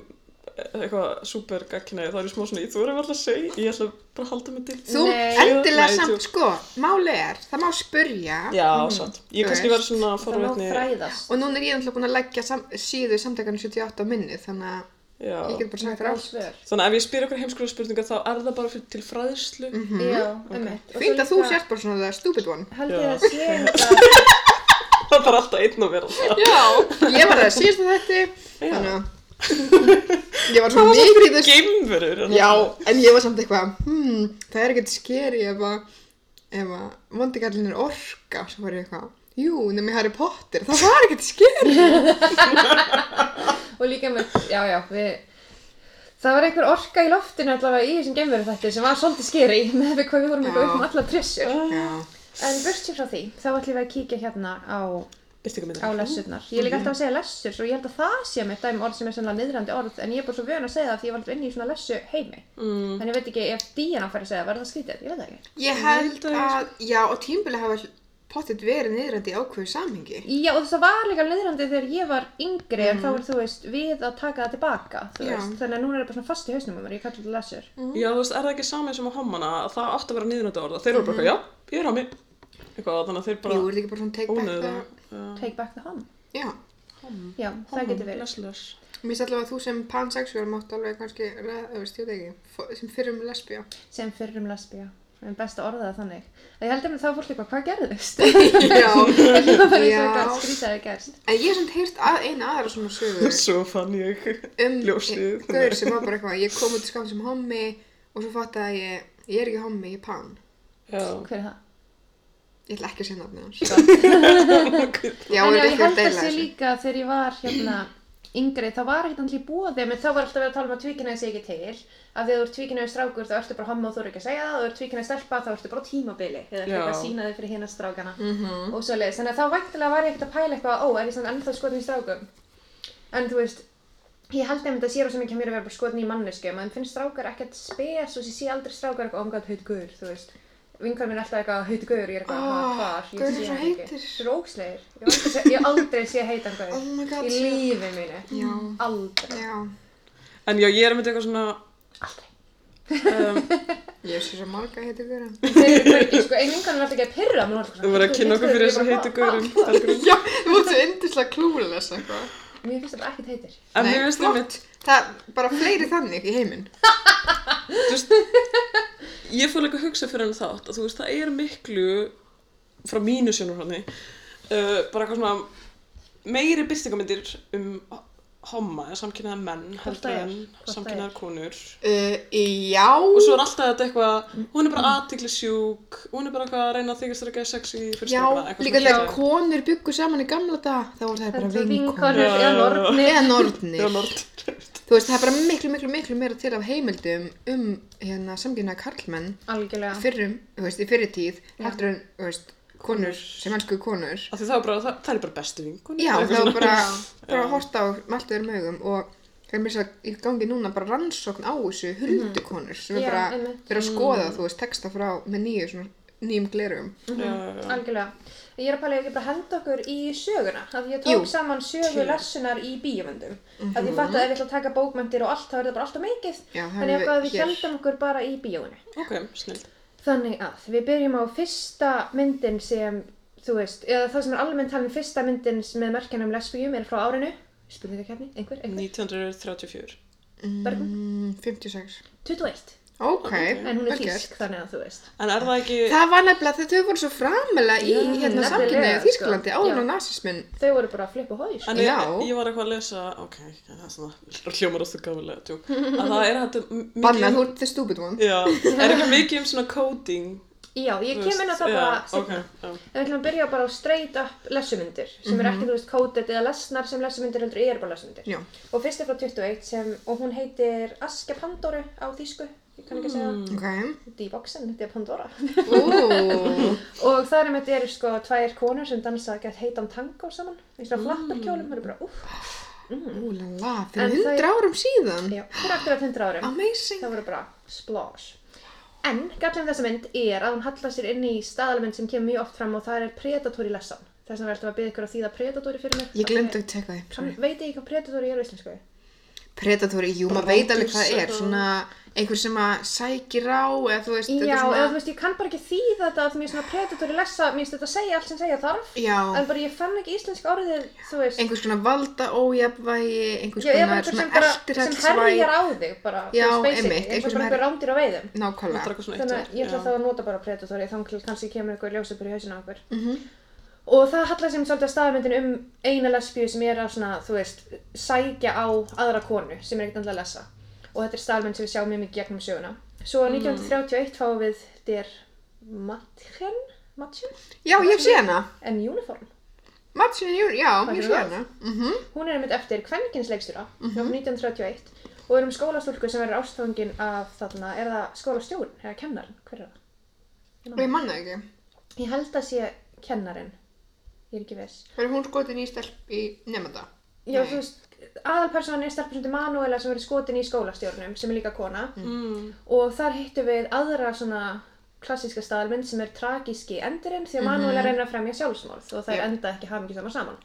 C: eh, eitthvað super gagkinaði, þá er ég smá svona, ég þú erum alltaf að segja, ég ætla bara að halda mig til.
B: Þú
A: Nei.
B: endilega
C: Nei,
B: samt,
C: þú-
B: sko, máli er, það má spurja.
C: Já, satt. Ég
B: Þú
C: kannski
B: veist.
C: verið svona
A: Það má
C: forvetni.
A: fræðast.
B: Og núna er ég náttúrulega búin að leggja sam síðu samtækanu 78 á minni, þannig að
C: Já.
B: ég get bara sagt þér
A: Góð
B: allt.
A: svör.
C: Þannig að ef ég spyr ykkur heimskóla spurningar þá er það bara fyrir, til fræðslu.
B: Mhm.
A: Já, um mitt.
B: Fínt að þú sért bara svona það stupid one.
A: Held ég
C: Já.
A: að sé eitthvað.
C: Það er bara alltaf einn að vera alltaf.
B: Já, ég var það síðast að þetta,
C: Já.
B: þannig að ég var svo mikið í þessu.
C: Geimverur. en
B: Já, en ég var samt eitthvað, hmm, það er ekkert skeri ef að, ef að vondikallin er orka, svo var ég eitthvað, jú, nema í Harry Potter, það var ekkert skeri.
A: Og líka með, já, já, við... Það var einhver orka í loftinu allavega í þessum geimveru sem var svolítið skeri með við hvað við vorum eitthvað
B: Já.
A: upp um alla trissur.
B: Já,
A: En burtið frá því, þá ætlum við að kíkja hérna á
C: Birta ykkur
A: á
C: myndir.
A: lessurnar. Ég er líka alltaf að segja lessur og ég held að það sé mitt dæmi orð sem er sannlega niðrandi orð en ég er bara svo vön að segja það því ég var alltaf inn í svona lessu heimi.
C: Mm.
A: Þannig ég veit ekki ef Díana fær að segja það, verður það skrítið? Ég veit það ekki.
B: ég held að, já, og tímbili hafa pottet verið niðrandi í ákveðu samhengi.
A: Já og það var líka niðrandi þegar ég var yngri en þá var þú veist við að taka það tilbaka. þú
B: Mm. Já. Mm.
A: Veist, þannig að núna er það bara svona fast í hausnum á mér, ég kallar þetta lessur.
C: Já, þú veist, er það ekki saman sem á hommana að það átti að vera niðurnönda orða? Þeir eru bara, já, ég er hommi. Eitthvað, þannig að þeir
B: Mhm. Jú, er þetta ekki
C: bara
B: bara svona take back
C: ónöðu
B: það?
C: það.
A: Take back the home.
B: Já,
A: Já, það getur verið.
C: Leslös.
B: mér finnst allavega að þú sem pansexual mátt alveg kannski, re- þú veist, ég veit ekki, fo- sem fyrrum lesbía.
A: Sem fyrrum lesbía. Það er best að orða það þannig. En ég held að þá fólk eitthvað, hvað gerðist?
B: Já,
A: Það var eins og
B: Já.
A: eitthvað skrýtaði gerst.
B: en ég hef samt heyrt að eina aðra svona sögur.
C: Svo fann ég
B: um
C: ljósið.
B: gaur sem var bara eitthvað, ég kom út í skam sem hommi og svo fattaði að ég, ég er ekki hommi, ég er pan.
C: Já.
A: Hver er það?
B: Ég ætla ekki að segja nafnið hans. Já,
A: En
B: er
A: já, ég
B: ekki að
A: held að
B: deila
A: sé
B: þessu.
A: líka þegar ég var hérna yngri, þá var ekkert allir bóði, menn þá var alltaf verið að tala um að tvíkinaði sé ekki til, af því að þú ert tvíkinaði strákur þá ertu bara homma og þú eru ekki að segja það, og þú ert tvíkinaði stelpa þá ertu bara á tímabili, eða ertu
C: Já.
A: eitthvað að sína þig fyrir hinn strákana
B: Mhm.
A: -hmm. og svo leiðis, þannig að þá væntilega var ég ekkert að pæla eitthvað, ó, er ég samt ennþá skotin í strákum, en þú veist, Ég held einmitt að það sé rosa mikið mér að vera bara skotin í mannesku maður finnst strákar ekkert spes og ég sé aldrei strákar eitthvað oh omgætt heitu guður, þú veist vingar minn er alltaf eitthvað heitu guður, ég er eitthvað
B: Ah,
A: oh, hvar, ég
B: gaur
A: sé
B: er svo
A: hann ekki
B: heitir.
A: Þú eru ógslegir, ég hef aldrei sé- ég hef aldrei sé heitan guður
B: Oh my god,
A: í
B: já.
A: lífi mínu,
B: Já.
A: aldrei
B: Já.
C: En já, ég er með eitthvað svona
A: aldrei
C: um,
B: Ég sé svo marga heitir guðurinn.
A: Þeir eru hverju, sko, ein vingar minn er alltaf ekki að pyrra mér alltaf
C: Þú voru að kynna okkur fyrir þessu heitu gaurum En
B: Já, þú ert svo yndislega klúrles eitthvað.
A: Mér finnst þetta ekkert heitir
B: Nei,
C: mér finnst
B: flott.
C: það mitt
B: Það er bara fleiri þannig í heiminn.
C: Ég fór líka að hugsa fyrir henni þátt að þú veist, það er miklu frá mínu sjónur hann uh, bara eitthvað svona meiri byrtingamindir um homma, samkynnaða menn
A: Hvort
C: heldur
A: það er,
C: en
A: hvort það
C: samkynnaðar
A: er.
C: konur
B: Uh, já.
C: og svo er alltaf þetta eitthvað hún er bara aðtiklisjúk, hún er bara eitthvað að reyna að þykast þér ekki að sexy fyrst
B: Já,
C: eitthvað, eitthvað
B: líka
C: svona
B: þegar konur byggu saman í gamla dag, þá voru það bara
A: Þetta
B: vinkonur.
A: vinkonur, já,
C: Já, já, já.
A: nornir
B: Eða nornir.
C: Já, lord.
B: Þú veist, það er bara miklu, miklu, miklu meira til af heimildum um hérna, samkynna karlmenn
A: Algjörlega
B: fyrrum, þú veist, í fyrri tíð, heldur en, þú veist, konur, sem elsku konur.
C: Af því það er bara, það, það er bara bestu vingun
B: Já, það var bara, bara horta á allt öðrum augum og það er mér svo í gangi núna bara rannsókn á þessu huldukonur sem er
A: Mhm. Já,
B: bara
A: einmitt. Mm.
B: verið að skoða, þú veist, texta frá með nýju, svona, nýjum glerugum.
C: bara
A: Algjörlega. Ég er að pæla í að ekki bara henda okkur í söguna. Það ég tók
B: Jú. Mhm.
A: saman sögu lessunar í bíomöndum. Mm -hmm. Það ég fatt að ef við ætlum að taka bókmöndir og allt, þá er það bara alltaf mikið.
B: Já, það
A: Þannig
B: erum
A: að
B: við
A: við
B: hér.
A: hendum okkur bara í bíóinu.
C: Ok, snill
A: Þannig að við byrjum á fyrsta myndin sem, þú veist, eða það sem er almennt talin fyrsta myndin sem með merkjanum lesbíum er frá árinu. Spurningakefni, einhver, einhver,
C: 1934
A: Bergrún?
B: Mm, 56.
A: 21.
B: Ok,
A: En hún
B: vel
A: er
B: gert.
A: þýsk, þannig að þú veist.
C: En er það ekki
B: Það var nefnilega þegar þau voru svo framilega í
A: Já,
B: hérna
A: nefnilega,
B: samkynniðu
A: sko.
B: Þýskalandi áður
A: Já.
B: en nazismin.
A: Þau voru bara að flippa hóðis.
C: En ég,
B: Já.
C: ég var eitthvað að lesa, ok, það er svona hljómar og gafilega tjók, að það er þetta m- mikið
B: Bannað, þú ert the stupid one.
C: Já, er eitthvað mikið um svona coding
A: Já, ég
C: þú
A: kem
C: veist,
A: inn á það
C: já,
A: bara seinna.
C: ok, já.
A: En við ætlum að byrja bara á straight up lesumyndir sem
C: Mhm.
A: eru ekki, þú veist, coded eða lesnar sem lesumyndir heldur eru bara lesumyndir.
B: Já.
A: Og fyrst er frá 21 sem, og hún heitir Askja Pandoru á þýsku, ég kann ekki að segja
C: Mm.
A: það.
B: Ok.
A: Þetta er í bóksin, þetta er Pandora.
B: Ú,
A: og þar er með þetta eru sko tvær konur sem dansa gett heitan tango saman, eins og
B: Mm.
A: flapparkjólum, það eru bara úff.
B: úlala, fyrir
A: En þau-
B: hundra árum síðan.
A: Já, fyrir aftur af 100 árum.
B: Amazing.
A: Það voru bara splosh. En gallin þessa mynd er að hún hallar sér inn í staðalmynd sem kemur mjög oft fram og það er Predator í lessan. Þess vegna verður alltaf að byggja ykkur að þýða Predator fyrir mig.
B: Ég glemdi að teka því.
A: Hann veit ekki hvað predator er á íslensku.
B: Predatori, jú, maður veit alveg hvað það er,
C: Predator.
B: svona einhver sem að sækir á eða þú veist,
A: Já,
B: þetta er
A: eða þú
B: svona,
A: veist, ég kann bara ekki þýða þetta að mér svona predator í lessa, mér finnst þetta að segja allt sem segja þarf, en
B: já,
A: bara ég fann ekki íslensk orðið, þú veist.
B: einhvers konar valda ójafvægi, einhvers
A: Já, eða bara
B: konar
A: einhver sem
B: svona
A: bara, sem
B: eftirhaldsvæg,
A: herjar á þig bara,
B: Já,
A: þú veist,
B: einmitt,
A: basically, eins
B: einhver
A: og
B: sem
A: bara einhver rándir á veiðum.
C: Það er
B: nákvæmlega,
C: eitthvað svona eitt
A: Þannig að ég ætla
C: orð,
A: þá
C: já.
A: að nota bara predatori, þannig að kannski kemur eitthvað ljósupur í hausinu á okkur.
B: Mhm.
A: Og það hallar sem svolítið að staðmyndin um eina lesbíu sem er að svona, þú veist, sækja á aðra konu sem er ekkert andla að lesa. Og þetta er staðmynd sem við sjáum mjög mikið gegnum söguna. Svo
B: Mm.
A: 1931 fáum við þér Matchen, Matchen,
B: já, ég sé hana,
A: en Uniform.
B: Matsin, já,
A: Hvað
B: ég
A: er
B: sé
A: það?
B: hana, Mhm.
A: Hún er einmitt eftir kvenkinsleikstjóra mm -hmm. 1931 og er um skólastúlku sem verður ástfangin af þarna, er það skólastjórn eða kennarinn, hver er það?
B: og ég manna ekki.
A: Ég held að sé kennarinn, ég er ekki viss.
B: Það er hún skotin í stelp í nefnda.
A: Já,
B: Nei.
A: þú veist, aðalpersonan er stelpusundi Manuela sem verður skotin í skólastjórnum, sem er líka kona.
C: Mm.
A: Og þar hittum við aðra svona klassíska staðalmynd sem er tragíski endurinn því að Manuela reynir að fremja sjálfsmorð og þær
B: Jep.
A: enda ekki hafingi saman saman.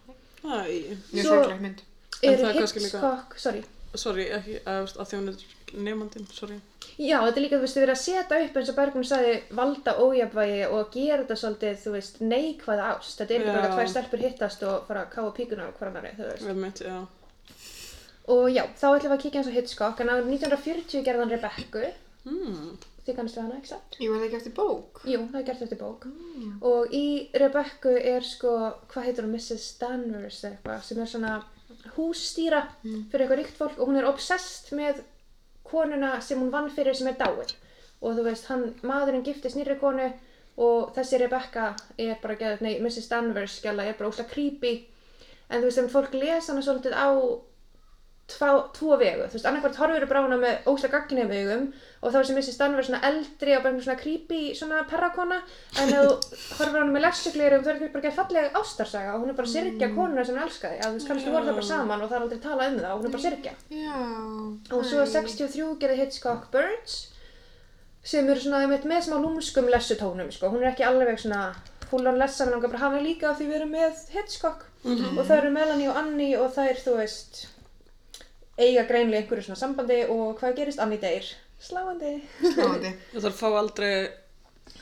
C: Æ,
A: Svo-
B: Mjög sorgleg mynd.
C: En
A: Er
C: það er kannski líka-
A: Hitchcock, sorry.
C: sorry, ekki, að, veist, að því hún er nefnandinn, sorry
A: Já, þetta er líka, þú veist, verið að setja upp eins og Bergrún sagði valda ójafvægi og gera þetta svolítið, þú veist, neikvæða ást. Þetta er ekki bara
C: Já.
A: að tvær stelpur hittast og fara að káa píkunar á hverjannari, þú veist.
C: Við mitt, já
A: Og já, þá ætlum við að kíkja eins og Hitchcock, en árið 1940 gerði hann Rebekku,
C: mm.
A: þið kannast við hana, ekki satt?
B: Ég var ekki eftir bók.
A: Jú, það er gert eftir bók. Og í Rebekku er sko, hvað heitir hún, Mrs. Danvers eða eitthvað, sem er svona hússtýra fyrir eitthvað ríkt fólk og hún er obsessed með konuna sem hún vann fyrir sem er dáin. Og þú veist, hann, maðurinn giftist nýri konu og þessi Rebekka er bara geðað, nei, Mrs. Danvers skjala er bara óslega creepy. En þú veist, þegar fólk les hana svolítið á tvo, tvo vegu, þú veist, annarkvært horfir upp á hana með óslega gagginni vegum og þá er sem missi stann verið svona eldri og bara einhver svona creepy svona perrakona en ef þú horfir á hana með lesugleirum þá er þetta bara ekki fallega ástarsaga og hún er bara að syrkja konuna sem hún elskaði að þú veist, kannski voru það bara saman og það er aldrei talað um það og hún er bara að syrkja
B: Já.
A: og svo 63 gerði Hitchcock Birds sem eru svona einmitt með smá lúmskum lessutónum sko. hún er ekki alveg svona full on lessa en langar bara að hafa líka af því við erum með Hitchcock og það eru Melanie og Annie og það er þú veist eiga greinlega einhverju svona sambandi og hvað gerist Annie deyr sláandi
B: Sláandi.
C: Það fá aldrei,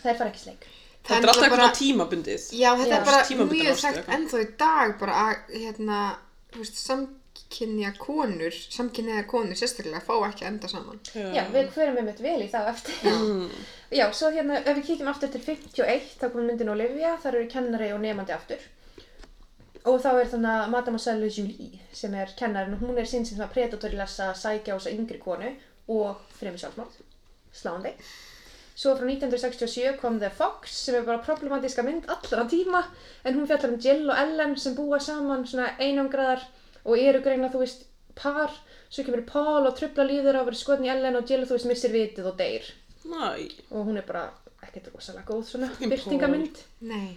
A: þær fara ekki í sleik
C: þetta
B: náttúrulega
C: er alltaf eitthvað
B: bara-
C: bara... tímabundið.
B: Já, þetta
A: Já.
B: er bara
C: Tímabundin
B: mjög
C: ást eða
B: þekkt
C: eitthvað.
B: ennþá í dag bara að, hérna, þú veist, samkynja konur, samkynjaðar konur sérstaklega fá ekki að enda saman.
A: já,
C: Mm.
A: við hverjum einmitt vel í það á eftir já, svo hérna, ef við kíkjum aftur til 51 þá kom myndin Olivia, þar eru kennari og nefandi aftur og þá er þannig að Mademoiselle Julie sem er kennarin, hún er sín sem það predatori lesa sækja á þessa yngri konu og fremur sjálfsmorð, sláandi Svo frá 1967 kom The Fox sem er bara problematíska mynd allra tíma en hún fjallar um Jill og Ellen sem búa saman svona einangraðar og eru greinlega þú veist par svo kemur Paul og trubla líður á að vera skotin í Ellen og Jill þú veist missir vitið og deyr
C: Næ,
A: og hún er bara ekkert rosalega góð svona
C: Fucking
A: byrtingamynd
B: Nei.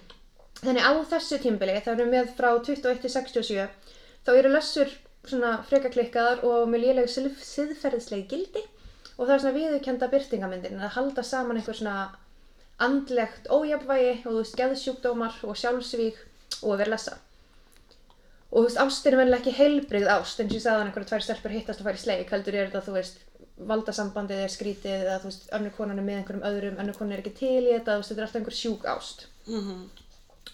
A: Þannig á þessu tímbili, þá erum við frá 21-67, þá eru lössur svona frekaklikkaðar og með léleg sið- siðferðisleg gildi og það er svona viðurkenda byrtingamyndin að halda saman einhver svona andlegt ójafvægi og þú veist geðsjúkdómar og sjálfsvík og að vera lessa. Og þú veist, ástin er vennilega ekki heilbrigð ást eins og ég sagði hann einhverja tvær stelpur hittast og fara í sleik heldur er þetta, þú veist, valdasambandið er skrítið eða þú veist, önnur konan er með einhverjum öðrum, önnur konan er ekki til í þetta, þú veist, þetta er alltaf einhver sjúk ást.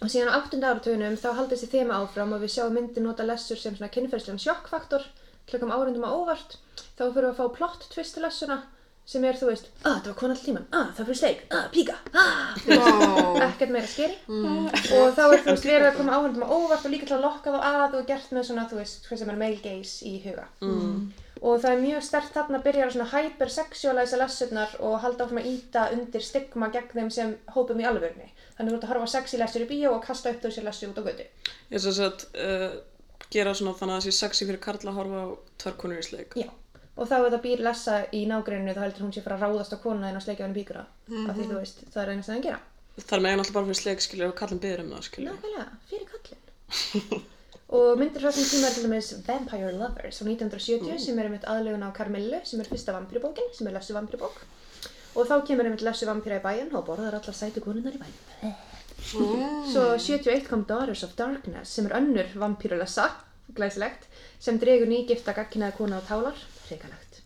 A: Og síðan á áttunda áratugunum þá haldið þessi þema áfram og við sjáum myndi nota lessur sem svona kynferðslegan sjokkfaktor til að koma árendum á óvart. Þá fyrir við að fá plott twist til lessuna sem er, þú veist, að það var kona all tíman, að það fyrir sleik, að píka, Ah." að
B: Vá.
A: ekkert meira skeri. Og þá Mm. er þú veist verið að koma árendum á óvart og líka til að lokka þá að og gert með svona, þú veist, hvað sem er male gaze í huga. Mm. Og það er mjög stert þarna að byrja að svona hypersexualæsa lessurnar og halda áfram að íta undir stigma gegn þeim sem hópum í alvörni. Þannig þú ert að horfa á sexy lessur í bíó og kasta upp þessi lessu út á götu.
C: ég svo að uh, gera svona þannig að það sé sexy fyrir karla að horfa á tvörkonur í sleik.
A: Já. Og þá er það býr lessa í nágrinu þá heldur hún sé fara að ráðast á konuna þinn og sleikja henni bíkura. Af því þú veist, það er einnig að hann gera.
C: Það er megin alltaf bara fyrir sleik, skilur, og kallin byður um það, skilur.
A: Nákvæmlega, fyrir kallinn. og myndir frá þessum tíma er til dæmis Vampire Lovers frá 1970 sem er einmitt aðlegun á Carmillu sem er fyrsta vampirubókin, sem er lessu vampirubók. Og þá kemur einmitt lessu vampira í bæinn og borðar allar sætu konunnar í bæinn. Svo 71 kom Daughters of Darkness sem er önnur vampírulessa, glæsilegt, sem dregur nýgifta gagkinaði kona á tálar, hrikalegt.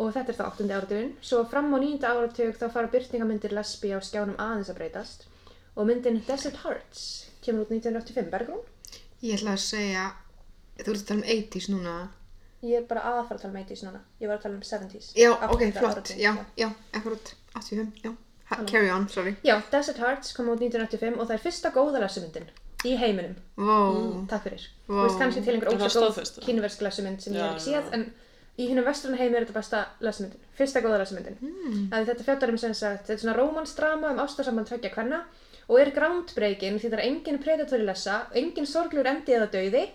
A: Og þetta er þá 8. áratugin. Svo fram á 9. áratug þá fara byrtingamyndir lesbí á skjánum aðeins að breytast og myndin Desert Hearts kemur út 1985, Bergrún.
B: Ég ætla að segja, þú ert að tala um 80s núna.
A: Ég er bara að fara að tala um 80s núna. Ég var að tala um 70s.
B: Já, ok,
A: 8.
B: flott.
A: áratuginn,
B: Já, já, akkurat. 85, já. Ha, carry on, sorry.
A: Já, Desert Hearts kom út 1985 og það er fyrsta góða lesumyndin í heiminum.
B: Vá.
A: Takk fyrir.
B: Vá.
A: Þú veist kannski til einhver
C: En það
A: ósað góð
C: staðfest, eða?
A: kínversk lesumynd sem ég
C: Já,
A: hef ekki
C: já,
A: séð en í hinnum vestrun heimi er þetta besta lesumyndin, fyrsta góða lesumyndin.
C: Hmm.
A: Mm. Þetta fjallar um sem sagt, þetta er svona rómansdrama um ástarsamband tveggja kvenna og er groundbreaking því það er engin predatori lesa, engin sorglegur endi eða dauði.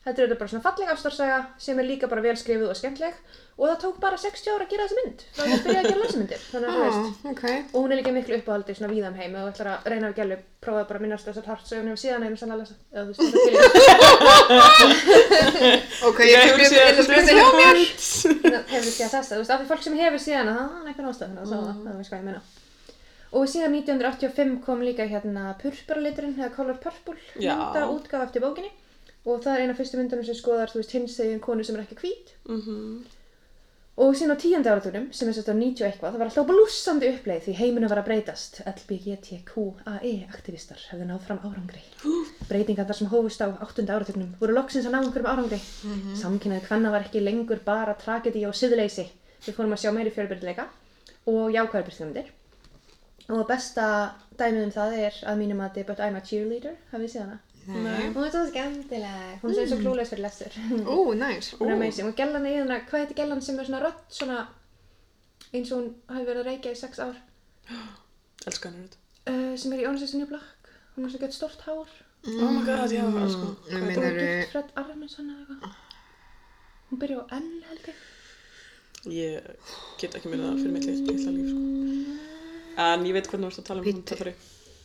A: Þetta er auðvitað bara svona falleg ástarsaga sem er líka bara vel skrifuð og skemmtleg og það tók bara 60 ára að gera þessa mynd. Það er byrjað að gera lesumyndir. Þannig
C: Ah.
A: að þú veist,
B: Ó, ok.
A: og hún er líka miklu uppáhaldi svona víða um heim og ætlar að reyna að gælu prófaði bara að minnast þessar hart svo ef hún hefur síðan einu sannlega lesa eða þú veist þetta
B: Ok, ég
C: Ég
B: fekk
C: hefur
B: bjöð
C: séð
B: til að skrifa hjá mér.
C: þetta.
A: fyrir hefur síðan þessa þú veist af því fólk sem hefur síðan það er einhvern ástæðan og það það veist hvað ég meina og síðan 1985 kom líka hérna purpuraliturinn eða Color Purple
C: Já.
A: mynda útgaf eftir bókinni og það er eina af fyrstu myndunum sem skoðar þú veist hinsegin konu sem er ekki hvít og síðan á tíunda áratunum sem er svolítið á 90 og eitthvað það var alltaf blúsandi uppleið því heiminu var að breytast LBGTQAE E aktivistar hefðu náð fram árangri breytingar þar sem hófust á áttunda áratunum voru loksins að ná einhverjum árangri mm
B: Mhm.
A: -hmm. hvenna var ekki lengur bara tragedi og siðleysi við fórum að sjá meiri fjölbyrðleika og jákvæðar byrðstundir og besta dæmið um það er að mínum að But I'm a Cheerleader hafið þið séð hana
B: Nei.
A: hún er svo skemmtileg Mm. hún er svo klúleis fyrir lestur hún
B: Ú, næs.
A: er amazing og gellan er í hana hvað heitir gellan sem er svona rödd svona eins og hún hafi verið að reykja í sex ár
C: Elskan er þetta.
A: uh, sem er í Orange is the New Black hún er svo gett stort hár
C: Oh my god, já,
B: Nú
C: elskan.
A: Hún er
B: meinar
A: gift Fred Armisen eða eitthvað Hún byrja á N held ég.
C: Ég get ekki munið það fyrir mitt lit- litla líf sko. En ég veit hvernig þú ert að tala um hún
B: Bíddu.
C: töffari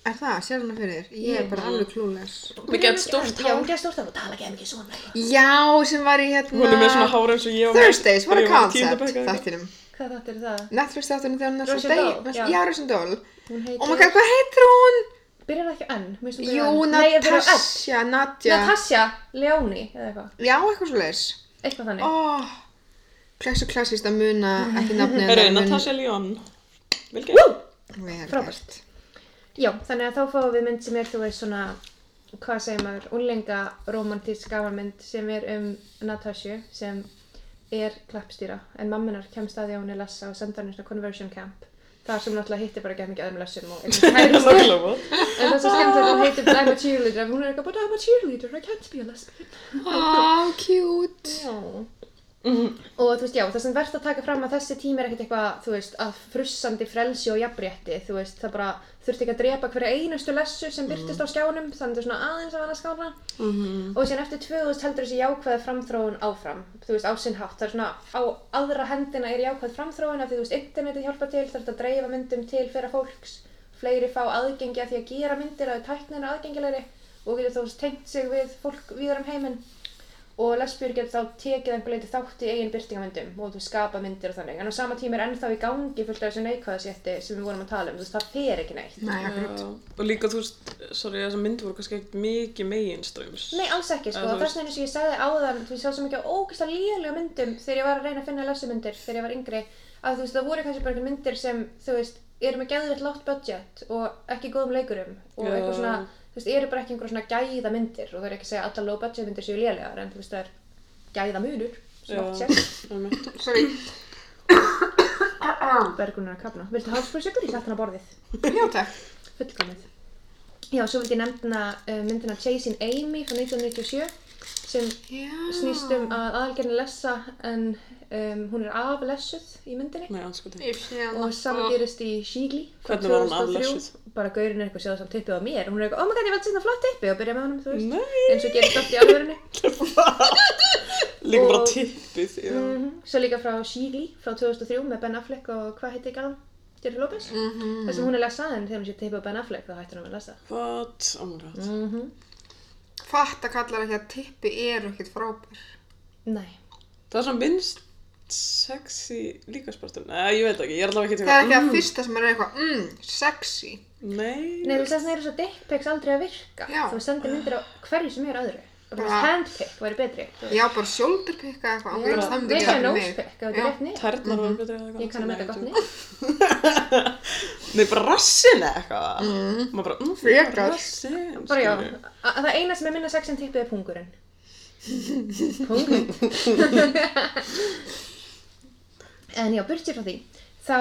B: Er það, sér hana fyrir þér? Ég er bara alveg klúles.
C: Hún er gett stórt
A: Já, hún
C: hár
A: gerði stórt hár og tala ekki mikið svona.
B: Já, sem var í hérna...
C: Hún er með svona hár eins og ég var með
B: Thursdays, what a
C: þegar ég var í
B: concept,
C: tíunda bekk eða eitthvað.
B: þættinum.
A: Hvað þátt er það?
B: Netflix þáttunum þegar hún er
A: Russian
B: svona
A: Doll,
B: deg...
A: já.
B: Já, Russian Doll.
A: Hún heitir...
B: Oh my god, hvað heitir hún?
A: Byrjar það ekki á N? Mér finnst hún byrja á
B: Jú,
A: N. Nei, ég byrja á N.
B: Natasha, Nadja.
A: Natasja Leoni eða eitthvað.
B: Já, eitthvað svo leis.
A: Eitthvað þannig.
B: Oh, klessu klassist að muna ekki nafni
C: Herru, Natasha Lyon Vel gert
B: Natasha.
A: Frábært. Já, þannig að þá fáum við mynd sem er, þú veist, svona, hvað segir maður, unlenga romantísk gafanmynd sem er um Natasju sem er klappstýra en mamminar kemst að því að hún er lessa og senda hann í svona conversion camp þar sem hún alltaf hittir bara ekki mikið aðeim lessum og er svona
C: Það
A: kærustu.
C: er nákvæmlega bóð
A: en það er svo skemmt að hún heitir I'm a cheerleader en hún er eitthvað, but I'm a cheerleader, I can't be a lesbian
B: Oh, cute.
A: og þú veist, já, það sem verðt að taka fram að þessi tími er ekkert eitthvað, þú veist, að frussandi frelsi og jafnrétti, þú veist, það bara þurfti ekki að drepa hverja einustu lessu sem byrtist á skjánum, þannig að það er svona aðeins að vana skána og síðan eftir 2000 heldur þessi jákvæða framþróun áfram, þú veist, á sinn hátt, það er svona á aðra hendina er jákvæð framþróun af því, þú veist, internetið hjálpar til, þarf að dreifa myndum til fyrir fólks, fleiri fá aðgengi að því að gera myndir að tæknin er aðgengilegri og getur þú veist, tengt sig við fólk víðar um heiminn og lesbjur getur þá tekið einhver leiti þátt í eigin byrtingamyndum og þú veist, skapa myndir og þannig en á sama tíma er ennþá í gangi fullt af þessu neikvæðasjetti sem við vorum að tala um, þú veist, það fer ekki neitt
B: Nei, akkurat.
C: Og líka þú veist, sorry, þessar myndir voru kannski ekkert mikið meginströms
A: Nei, alls ekki, sko,
C: Eða þú
A: þess vegna eins og ég sagði áðan, þú veist, ég sá svo mikið ógæslega lélega myndum þegar ég var að reyna að finna lesumyndir þegar ég var yngri, að þú veist, það voru kannski bara einhverjum myndir sem, þú veist, eru með geðvilt látt budget og ekki góðum leikurum og
C: Já.
A: eitthvað svona, þú veist, eru bara ekki einhverjum svona gæða myndir og það er ekki að segja að allar low budget myndir séu lélegar, en þú veist, það er gæða munur, sem oft
C: Já,
A: sér,
C: einmitt.
B: Sorry.
A: bergunar að kapna. Viltu hálfspröðsökur? Ég sett hann á borðið.
B: Já, takk.
A: fullkomið. Já, svo vildi ég nefna uh, myndina Chasing Amy frá 1997 sem
B: Já.
A: snýst um að aðalgerðin lessa en um, hún er aflessuð í myndinni
C: Nei, anskotin
B: Ég sé hana.
A: og sama gerist í Shigli frá
C: Hvernig var hún
A: 2003.
C: aflessuð?
A: Bara gaurinn er eitthvað séð sem tippið á mér og hún er eitthvað, oh my god, ég veit þetta flott tippi og byrja með honum, þú veist
C: Nei,
A: eins og gerist oft í alvörunni
C: líka bara
A: Og-
C: tippið já.
A: mm Svo líka frá Shigli frá 2003 með Ben Affleck og hvað heitir gæðan? Jennifer Lopez? Mm
C: Mhm.
A: -hmm. Þessum hún er lessa en þegar hún sé tippið á Ben Affleck þá hættir hún að vera lessa
C: What? Oh my god
A: mm
B: Fatta kallar ekki að tippi eru ekkert frábær.
A: Nei
C: Það er svona minnst sexy líkaspartur Nei, ég veit ekki, ég er allavega ekki
B: Það er
C: að
B: ekki að fyrsta sem er eitthvað, mm, sexy.
C: Nei,
A: Nei, þú veist þannig er þess að dick pics aldrei að virka.
B: Já.
A: Þú sendir myndir á hverju sem er öðru. Bara þú
B: Bara-
A: veist, handpick væri betri. þú veist.
B: Já, bara shoulder pikka eitthvað,
A: Bara-
B: ángríns, það myndi
A: Vekja
B: gera fyrir hérna mig.
A: nosepick, ef þetta er rétt niður.
C: Tærnar voru betri eða eitthvað
A: Mhm. Ég kann að meta
C: Nei,
A: gott
C: þú-
A: niður.
C: Nei, bara rassin eða eitthvað
A: Mhm.
C: mm. Maður bara, mm,
B: Frekar.
C: Rassin
A: Bara já,
C: skilurðu.
A: að það eina sem er minna sex en tippið er pungurinn. Pungurinn. en já, burt sér frá því. Þá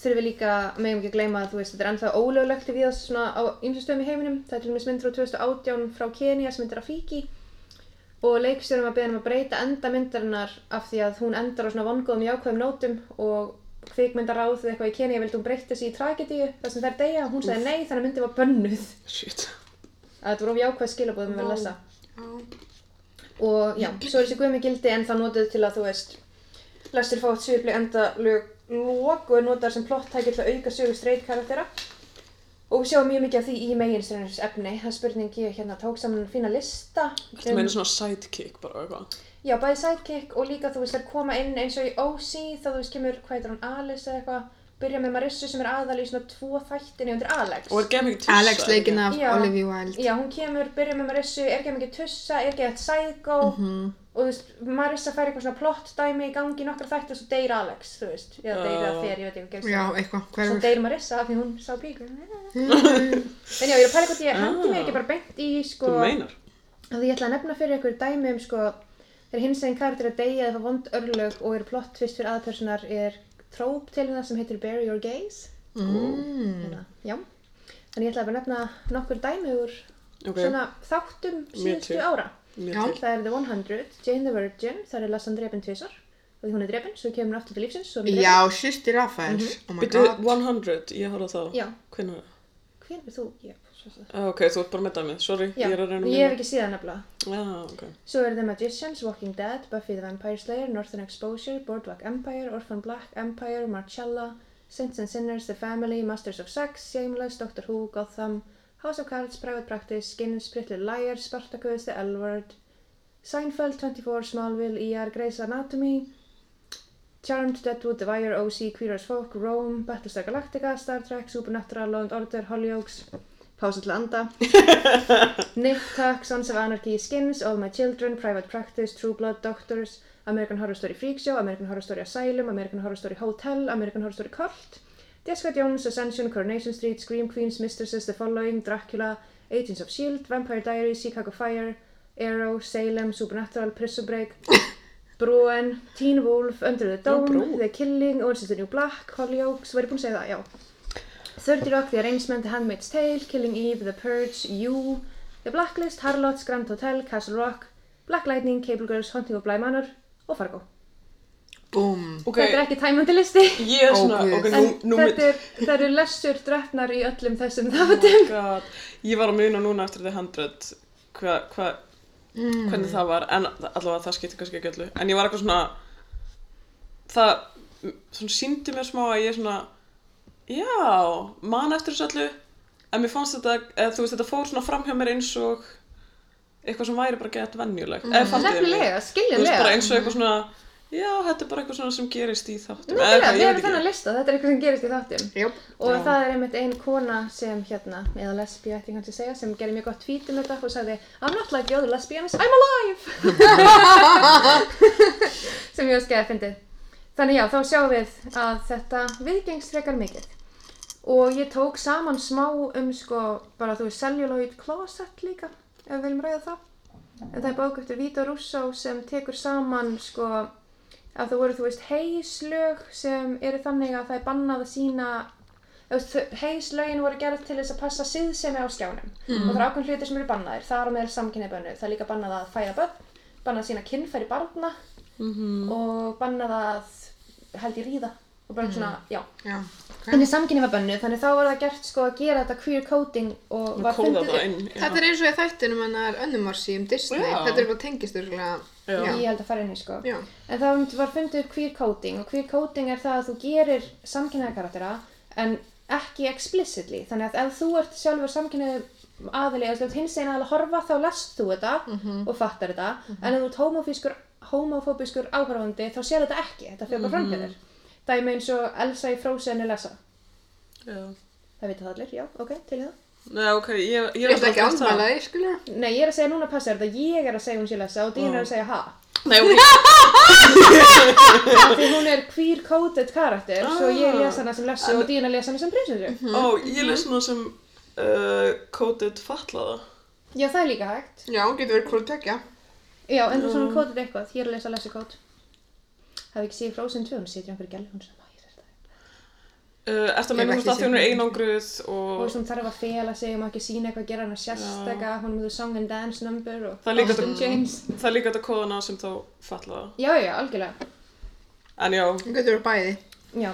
A: þurfum við líka, megum ekki að gleyma að þú veist, þetta er ennþá ólöglegt við það svona á ymsustöðum í heiminum. Það er til dæmis myndir á 2018 frá Kenya sem myndir á Fíki. og leikstjórum að beða um að breyta enda myndarinnar af því að hún endar á svona vongóðum jákvæðum nótum og kvikmyndaráð eða eitthvað í Kenya vildi hún breytta sig í tragedíu þar sem þær deyja og hún sagði nei þannig að myndin var bönnuð
C: Shit
A: að þetta voru of jákvæð skilabóðum að lesa
B: Já.
A: og já, svo er þessi guðmi gildi en það notuð til að þú veist lestir fátt svipli enda lög lók og er notaðar sem plottæki til að auka sögu streit karaktera og við sjáum mjög mikið af því í meginstrænins efni það er spurning ég hérna tók saman fína lista Um,
C: Þetta meina svona sidekick bara og eitthvað
A: Já, bæði sidekick og líka þú veist að koma inn eins og í OC þá þú veist kemur, hvað heitir hún, Alice eða eitthvað byrja með Marissu sem er aðal í svona tvo þættinni undir Alex
C: Og er gæm ekki tussa
B: Alex leikinn af
A: Já.
B: Olivia Wilde.
A: Já, hún kemur, byrja með Marissu, er ekki mikið tussa, er ekki eitt psycho og þú veist, Marissa fær eitthvað svona plott dæmi í gangi í nokkra þætti og svo deyr Alex, þú veist eða deyr
C: Já.
A: það þér, ég veit ekki hvað gerist
B: Já, eitthvað,
A: Svo
B: hverfur.
A: deyr Marissa af því hún sá píku En já, ég er að pæla hvort ég hendi mér ekki bara beint í sko
C: Þú meinar
A: Af því ég ætla að nefna fyrir ykkur dæmi um sko þegar hins einn karakter er að deyja eða fá vond örlög og eru plott tvist fyrir aðpersonar er tróp til hérna sem heitir Bury Your Gaze
B: Mm.
A: hérna, já þannig ég ætla að bara nefna nokkur dæmi úr
C: Ok,
A: svona þáttum
C: Mér
A: síðustu
C: til.
A: ára
C: mér
B: Já.
C: til
A: það er The 100, Jane the Virgin þar er Lassan drepin tvisar og því hún er drepin, svo kemur hún aftur til lífsins svo er hún
B: Já, sýsti Rafael. Oh my
C: Býtu
B: god.
C: 100, ég horfði á það
A: drepin já,
C: Hvernig?
A: hver er þú? Ég,
C: Ah, Ok, þú ert bara með dæmið, sorry,
A: Já,
C: ég er að reyna
A: ég hef ekki síðan nefnilega.
C: Já, ok.
A: Svo eru The Magicians, Walking Dead, Buffy the Vampire Slayer, Northern Exposure, Boardwalk Empire, Orphan Black, Empire, Marcella, Saints and Sinners, The Family, Masters of Sex, Shameless, Doctor Who, Gotham, House of Cards, Private Practice, Skins, Pretty Liars, Spartacus, The L Word, Seinfeld, 24, Smallville, ER, Grey's Anatomy, Charmed, Deadwood, The Wire, OC, Queer as Folk, Rome, Battlestar Galactica, Star Trek, Supernatural, Law and Order, Hollyoaks, Pása til að anda. Nip Tuck, Sons of Anarchy, Skins, All My Children, Private Practice, True Blood, Doctors, American Horror Story Freak Show, American Horror Story Asylum, American Horror Story Hotel, American Horror Story Cult, Jessica Jones, Ascension, Coronation Street, Scream Queens, Mistresses, The Following, Dracula, Agents of S.H.I.E.L.D., E Vampire Diaries, Chicago Fire, Arrow, Salem, Supernatural, Prison Break, Bruin, Teen Wolf, Under the Dome,
C: Brú.
A: The Killing, Orange is the New Black, Hollyoaks, var ég búin að segja það, já. 30 Rock, The Arrangement, The Handmaid's Tale, Killing Eve, The Purge, You, The Blacklist, Harlots, Grand Hotel, Castle Rock, Black Lightning, Cable Girls, Haunting of Bly Manor og Fargo.
B: Búm.
C: Ok,
A: Þetta er ekki tæmandi listi,
C: ég er svona,
B: Ó, Guð.
C: ok, nú,
A: en
C: nú mynd,
A: þetta er, það eru lessur drefnar í öllum þessum
C: oh
A: þáttum.
C: my god, ég var að muna núna eftir The 100, hva, hva,
A: Mm.
C: hvernig það var, en allavega það skipti kannski ekki öllu, en ég var eitthvað svona, það, svona síndi mér smá að ég svona, já, man eftir þessu öllu, en mér fannst þetta, eða, þú veist, þetta fór svona fram hjá mér eins og eitthvað sem væri bara gett venjulegt, eða fattuðu mig?
A: Mm. Nefnilega,
C: Þú veist bara
A: skiljanlega. Mm.
C: eins og eitthvað svona, já, þetta er bara eitthvað svona sem gerist í þáttum. eða
A: Nefnilega,
C: eitthvað,
A: við
C: ég
A: erum
C: veit ekki.
A: þennan lista, þetta er eitthvað sem gerist í þáttum.
B: Jáp.
A: Og
C: Já.
A: það er einmitt ein kona sem hérna, eða lesbíu ætti ég kannski að segja, sem gerði mjög gott tweet um þetta og sagði I'm not like the other lesbians, I'm alive! sem ég var skeið að fyndið. Þannig já, þá sjáum við að þetta viðgengst frekar mikið. Og ég tók saman smá um sko, bara þú veist, celluloid closet líka, ef við viljum ræða það. En það er bók eftir Vito Russo sem tekur saman sko að það voru, þú veist, heislög sem eru þannig að það er bannað að sína heislögin voru gerð til þess að passa síðsemi á skjánum
C: Mm.
A: og það eru ákveðin hlutir sem eru bannaðir, það er á meðal samkynni bönnu það er líka bannað að fæða börn bannað að sína kynfæri barna
C: Mhm.
A: -hmm. og bannað að held ég ríða og bara svona,
C: Mm.
A: já
B: Já.
A: en í samkynni var bönnu, þannig þá var það gert sko að gera þetta queer coding og var
C: Kóða
A: fundið
C: það
A: upp.
C: inn. já.
B: Þetta er eins og í þættinum hennar önnumársi um Disney.
C: Já.
B: Þetta er eitthvað tengist örgulega.
C: Já.
A: ég held að fara inn í sko
B: Já.
A: En það var- var fundið upp queer coding og queer coding er það að þú gerir samkynnaða karaktera en ekki explicitly. Þannig að ef þú ert sjálfur samkynnaðu aðili eða þú ert hins einn aðil að horfa þá lest þú þetta og fattar þetta en ef þú ert homofískur, homofóbískur áhörfandi þá sér þetta ekki. Þetta fyrir bara framkynnaður. Dæmi eins og Elsa í Frozen er lesa.
C: Já.
A: Það vita það allir, já, ok, til í það.
C: Nei, ok, ég, ég
B: Ég ætla ekki að
C: alltaf
B: andmæla því, skilur.
A: Nei, ég er að segja núna passa þetta, ég er að segja hún sé lesa og Dín er að segja ha.
C: Nei, ok,
A: Af Því hún er queer coded karakter, svo ég
C: Ah.
A: lesa hana sem lesu og Dín að lesa hana sem prinsessu.
C: ó, ég les nú sem uh, kótið fatlaða.
A: Já, það er líka hægt.
B: Já, getur verið hvort tekja.
A: Já, en þú
C: Mm.
A: svona kótið eitthvað. Ég er að lesa lesikót. Það er ekki séð Frozen 2, hún situr í einhverju gælu, hún er svona, "Æ, ég þarf þetta.
C: Uh, eftir
B: Ég hef
C: með
B: ekki
C: núst að
B: séð
C: því hún er
B: hana.
C: einangruð og
A: Og svona þarf að fela sig, og má ekki sína eitthvað, gera hana sérstaka, hún er með the song and dance number og
C: Það er líka
A: Austin James.
C: það er líka þetta kóðana sem þá fatlaða.
A: Já, já, algjörlega.
C: En já,
B: Hún getur verið bæði.
A: Já,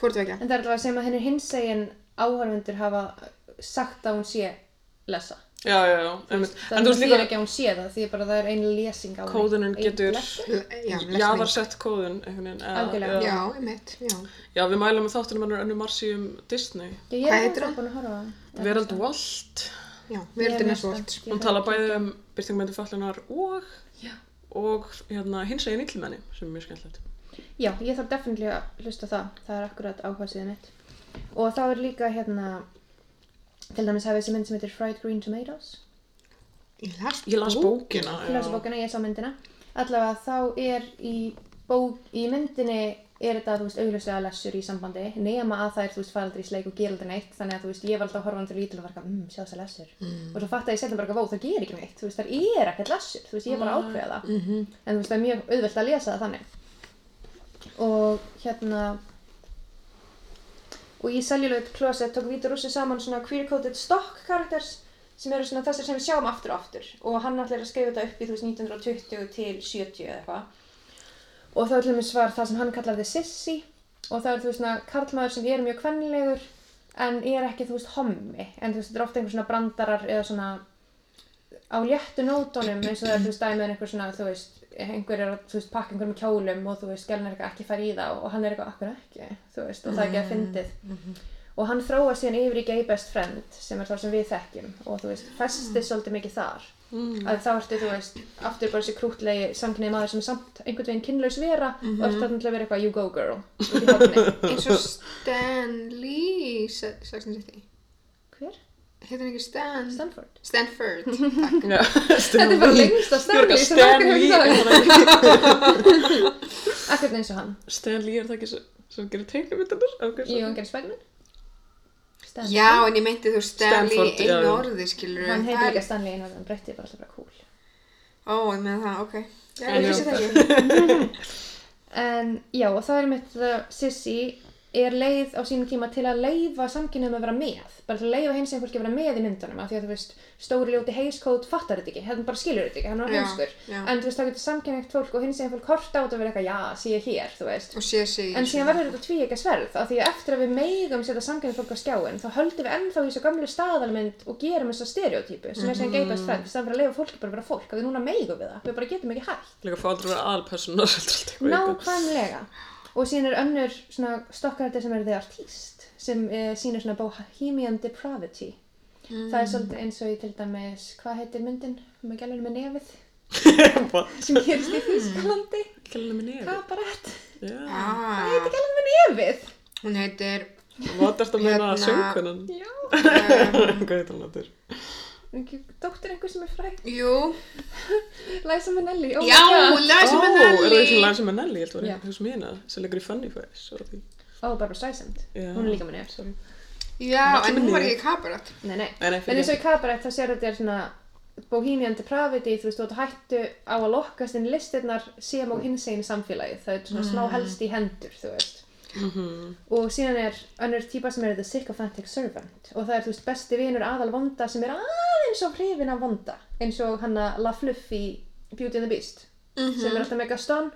B: Hvort tekja.
A: en það er allavega sem að henni hins segin áhörfundur hafa sagt að hún sé lesa.
C: já, já, já, einmitt.
A: Það
C: En þú veist
A: líka...
C: líka,
A: ekki að hún sé það, því bara það er einu lesing á henni.
C: kóðunin
A: Ein
C: getur
A: lesing.
B: Já, lesning.
C: jaðarsett kóðun, einhvern veginn. eða-
A: Algjörlega.
B: Já,
C: Já,
B: einmitt. Já.
C: já við mælum með þáttunum hennar önnu Marsi um Disney.
A: Já, ég er
B: Hvað heitir
A: ennþá
B: hún?
A: búin að horfa á hana.
C: Verald Walt.
B: Já,
A: Ég er
B: verðin er
A: næsta.
B: svolt.
A: Ég
C: Hún
A: þarf
C: talar
A: að
C: bæði um byrtingmyndu fatlunar og
A: Já.
C: og hérna hins eginn illmenni sem er mjög skemmtilegt.
A: Já, ég þarf definitílega að hlusta á það. Það er akkurat áhersið mitt. Og þá er líka hérna, til dæmis hafið þessi mynd sem heitir Fried Green Tomatoes.
B: Ég las,
C: Ég las bókina.
A: Ég lasi bókina, ég sá myndina. Allavega þá er í, bók, í myndinni er þetta, þú veist, augljóslega lessur í sambandi nema að það er, þú veist, faraldri í sleik og gera aldrei neitt þannig að, þú veist, ég var alltaf horfandi til lítil og var eitthvað, mmm, sjá þess að lessur og svo fattaði ég setjum bara eitthvað, vó, það ger ekki neitt þú veist, það er ekkert lessur, þú veist, ég er bara að ákveða það -hmm. en þú veist, það er mjög auðvelt að lesa það þannig og hérna og í Celluloid Closet tók Vítur Rússi saman svona queer-coded stock characters sem eru svona þessir sem við sjáum aftur og aftur og hann allir að skrifa þetta upp í þú veist, 1920 til 70 eða eitthvað og þá allir mér svar það sem hann kallaði sissi og það er þú veist svona karlmaður sem er mjög kvennilegur en ég er ekki, þú veist, hommi en þú veist, þetta er ofta einhver svona brandarar eða svona á léttu nótunum eins og það er, þú veist, dæmið er einhver svona, þú veist einhver er, að, þú veist, pakka einhverjum í kjólum og þú veist, gælun er eitthvað ekki fara í þá og hann er eitthvað akkur ekki, þú veist, og það er ekki að fyndið og hann þróa síðan yfir í gay best friend sem er það sem við þekkjum og þú veist, festið svolítið mikið þar að þá ertu, þú veist, aftur bara þessi krútlegi samkynneið maður sem er samt einhvern veginn kynlaus vera og ert þarna til að vera eitthvað you go girl út í horni.
B: Eins og Stan Lee, Se- Sex and the City.
A: Hver?
B: Heitir hann ekki Stan?
A: Stanford?
B: Stanford.
C: Þetta
A: Þetta er bara lengsta Stanley sem
C: Stan
A: maður hefur hugsað um.
C: Lee
A: Ekkert eins og hann.
C: Stan Lee er það ekki sem- sem gerir teiknumyndunar
A: Jú, hann gerir spækman. Stanley.
B: Já, en ég meinti þú Stan Lee
C: Stanford,
B: í einu
C: já.
B: orði, skilur
A: Hann heitir líka Stanley einu og hann breytti bara alltaf bara cool.
B: Ó, ég meina það, ok. Já,
C: En
B: ég
C: já.
B: vissi það ekki.
A: En já, og það er mitt að Sissy er leið á sínum tíma til að leifa samkynnum að vera með. Bara til að leifa hins einhverjum að vera með í myndunum. Af því að þú veist, stóri ljóti heiskót fattar þetta ekki. Hann bara skilur þetta ekki, hann var
B: Já,
A: heimskur.
B: já.
A: En þú veist, þá getur samkynnegt fólk og hins einhverjum hort á þetta að vera eitthvað, já, sé ég hér, þú veist.
B: Og sé sig. í
A: En
B: þessu.
A: síðan verður þetta tvíega sverð af því að eftir að við meigum setja samkynni fólk á skjáin þá höldum við ennþá í þessu gamlu staðalmynd og gerum þessa stereotypu sem er sem geipast fremd sem fyrir að leifa fólki bara að vera fólk af því núna meigum við það, við bara getum ekki hægt
C: Líka fá aldrei að vera aðalpersonar heldur allt eitthvað eitthvað.
A: Nákvæmlega og síðan er önnur svona stokkarandi sem er The Artist sem uh, sýnir svona Bohemian Depravity það er svolítið eins og í til dæmis hvað heitir myndin, um að gælur með nefið
C: Hvað?
A: sem gerist í Þýskalandi
C: Kjallinu minn er
A: Kabarett,
C: Já,
B: Ah,
A: gælur með nefið
B: hún heitir,
C: Hvað ertu að meina
B: Hérna-
C: söngkonan?
A: Já,
B: um,
C: Hvað heitir hann aftur?
A: dóttir einhver sem er fræg
B: jú,
A: Liza Minnelli, oh
B: já,
A: my god
B: Læsa
C: Ó,
B: með
C: er það ekki
B: Nelly.
C: Læsa með Nelly, ég held að
A: Já.
C: vera hugsa mér hérna sem leikur í Funny Face og því.
A: Ó, Barbara Streisand,
C: Já.
A: hún er líka með nefn
C: Sorry.
B: Já, en hún var
C: Nelly.
B: ekki kabarat.
A: Nei, nei,
C: Nei, nei,
A: en
C: fyrir
A: eins og í kabarett þá sér þetta er svona Bohemian Depravity, þú veist, þú ert að hættu á að lokkast inn í listirnar sem og hinsegin samfélagið, það er svona smá helst í hendur, þú veist og síðan er önnur típa sem er The Sycophantic Servant og það er, þú veist, besti vinur aðal vonda sem er aðeins og hrifin af vonda eins og hanna La Fluff í Beauty and the Beast sem er alltaf mega stón,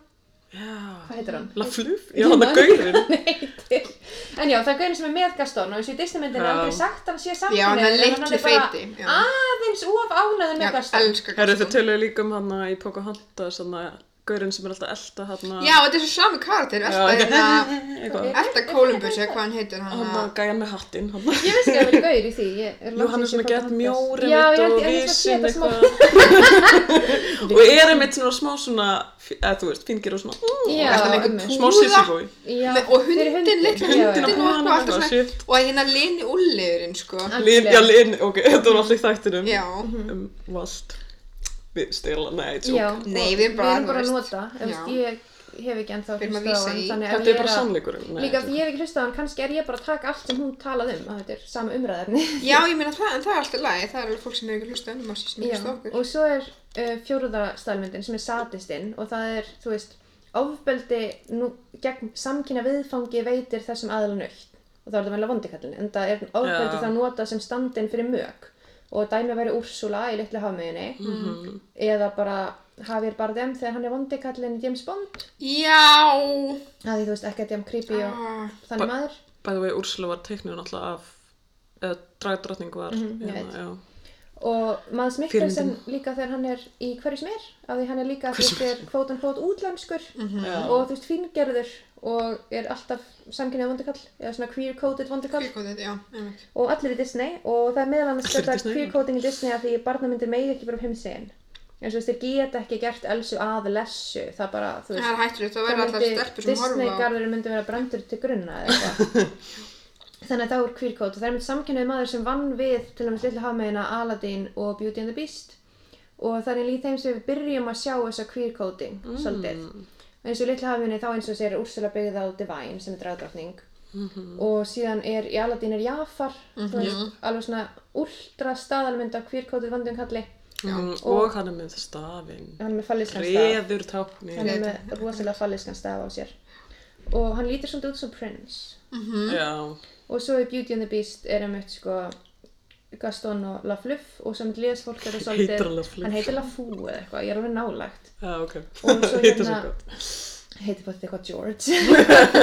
C: Já.
A: hvað heitir hann?
C: La Fluff, já hann er gaurinn.
A: Hann heitir. En já, það er gaurinn sem er með Gaston og eins og í Disneymyndin er
C: Já.
A: aldrei sagt hann sé
B: Já, hann er
A: samkynhneigður, en
B: litli
A: bara
B: feiti. Já.
A: aðeins of ánæður
B: Já,
A: með Gaston
B: elska
C: Herru
B: Gaston.
C: þau töluðu líka um hann í Pocahontas, hann að gaurinn sem er alltaf að elta hann að...
B: Já, þetta er svo sami karakter,
C: Já,
B: alltaf hérna,
C: Eitthvað.
B: alltaf Columbus eða hvað hann heitir hann
C: Hann að
B: að
C: gæja með hattinn, hann að...
A: Ég veist ekki að það er gaur í því ég er
C: Jú,
A: langt
C: hann
A: síðan
C: er svona
A: ég
C: gett
A: fór að
C: mjóri
A: Já, ég
C: mitt
A: held
C: og
A: ég held ég held
C: vísinn eitthvað. Og er einmitt svona smá svona, eða þú veist, fingir og svona...
A: Já,
B: Alltaf með
A: einmitt.
B: einhver
C: Smá sissibói.
A: Já,
B: Með- og
A: fyrir hundinn.
B: hundinn, litla
A: Já, já.
B: hundinn.
C: Hundin
B: og
C: og hann
B: eitthvað,
C: og
B: alltaf
C: svona,
B: svona-
C: shit.
B: og hérna Lini Ulliðurinn sko
C: Lin, já, Lin, ok, þetta var allir þættinum.
B: Já,
C: Um, vast. Við stela, nei, tjók.
A: Já,
B: Nei,
A: og
B: við erum bara
A: Við erum bara að
B: þú
A: nota Þú veist,
B: Já.
A: Ég hef ekki ennþá
B: Við erum að
A: hlustað á
B: vísa
A: hann,
B: í-
A: þannig að
C: Þetta
A: ég
C: er bara
A: að-
C: sannleikurinn. Nei,
A: Líka
C: tjók.
A: því ég hef ekki hlustað á hann, kannski er ég bara að taka allt sem hún talað um að þetta er sama umræðarni
B: já, ég meina það, en það er alltaf lægi það er alveg fólk sem er ekki að hlusta önnum að
A: Já,
B: síðan hlusta á okkur
A: og svo er uh, fjóruða staðmyndin sem er sadistinn og það er, þú veist, ofbeldi nú, gegn samkynna viðfangi veitir þessum aðal nöytt og þá er þetta vel að vondikallin, en það er ofbeldi
C: Já.
A: þá notað sem standinn fyrir mög og dæmi væri Úrsula í litlu hafmiðinni
C: Mhm.
A: -hmm. eða bara Javier Bardem þegar hann er vondikallin í James Bond
B: Já,
A: að því þú veist ekki að James Creepy og
B: Ah.
A: þannig
C: Ba-
A: maður
C: Bæði vegi, Úrsula var teiknum náttúrulega af, eða dragdrottning var.
A: Mhm, ég
C: hérna,
A: veit.
C: já.
A: og maður Mikkelsen líka þegar hann er í hverju sem er af því hann er líka þú veist er kvótan kvót útlenskur
C: Já.
A: og þú veist fingerður og er alltaf samkynnið vondurkall eða svona queer coded vondurkall
B: fylgkótið, já, einmitt
A: og allir í Disney og það er meðal annars
C: Allir í
A: þetta
C: Disney,
A: queer
C: já.
A: coding í Disney af því barnamyndir megi ekki bara um heimsegin eins og þú veist þeir geta ekki gert elsu að lessu það bara þú
B: Það
A: veist
B: er hættulegt, það
A: það
B: verður alltaf
A: myndi
B: stelpur sem horfa á
A: Disney-garðurinn myndi vera brendur til grunna eða eitthvað þannig að það voru kvírkót og það er mynd samkynnaði maður sem vann við til dæmis Lillu Hafmeina, Aladdin og Beauty and the Beast og það er líka þeim sem við byrjum að sjá þessa kvírkóting
B: Mm.
A: svolítið og eins og Lillu Hafmeina þá eins og þessi er Úrsula byggð á Divine sem er dragdrottning
B: Mhm.
A: og síðan er í Aladdin er Jafar þú veist, alveg svona últra staðalmynd af kvírkótið vandum kalli
C: Mhm, Og hann er með stafinn.
A: hann er með falliskan stað
C: Reður táknir.
A: hann er með rosalega falliskan staf á sér og hann lítur svolítið út sem Prince
C: Já,
A: og svo í Beauty and the Beast er einmitt sko Gaston og La Fluff og sem les fólk er það svolítið
C: Heitir hann La Fluff?
A: hann heitir La Fou eða eitthvað, ég er alveg nálægt
C: já, ok.
A: og svo
C: Hitta svo
A: hérna
C: gott.
A: heiti bara eitthvað George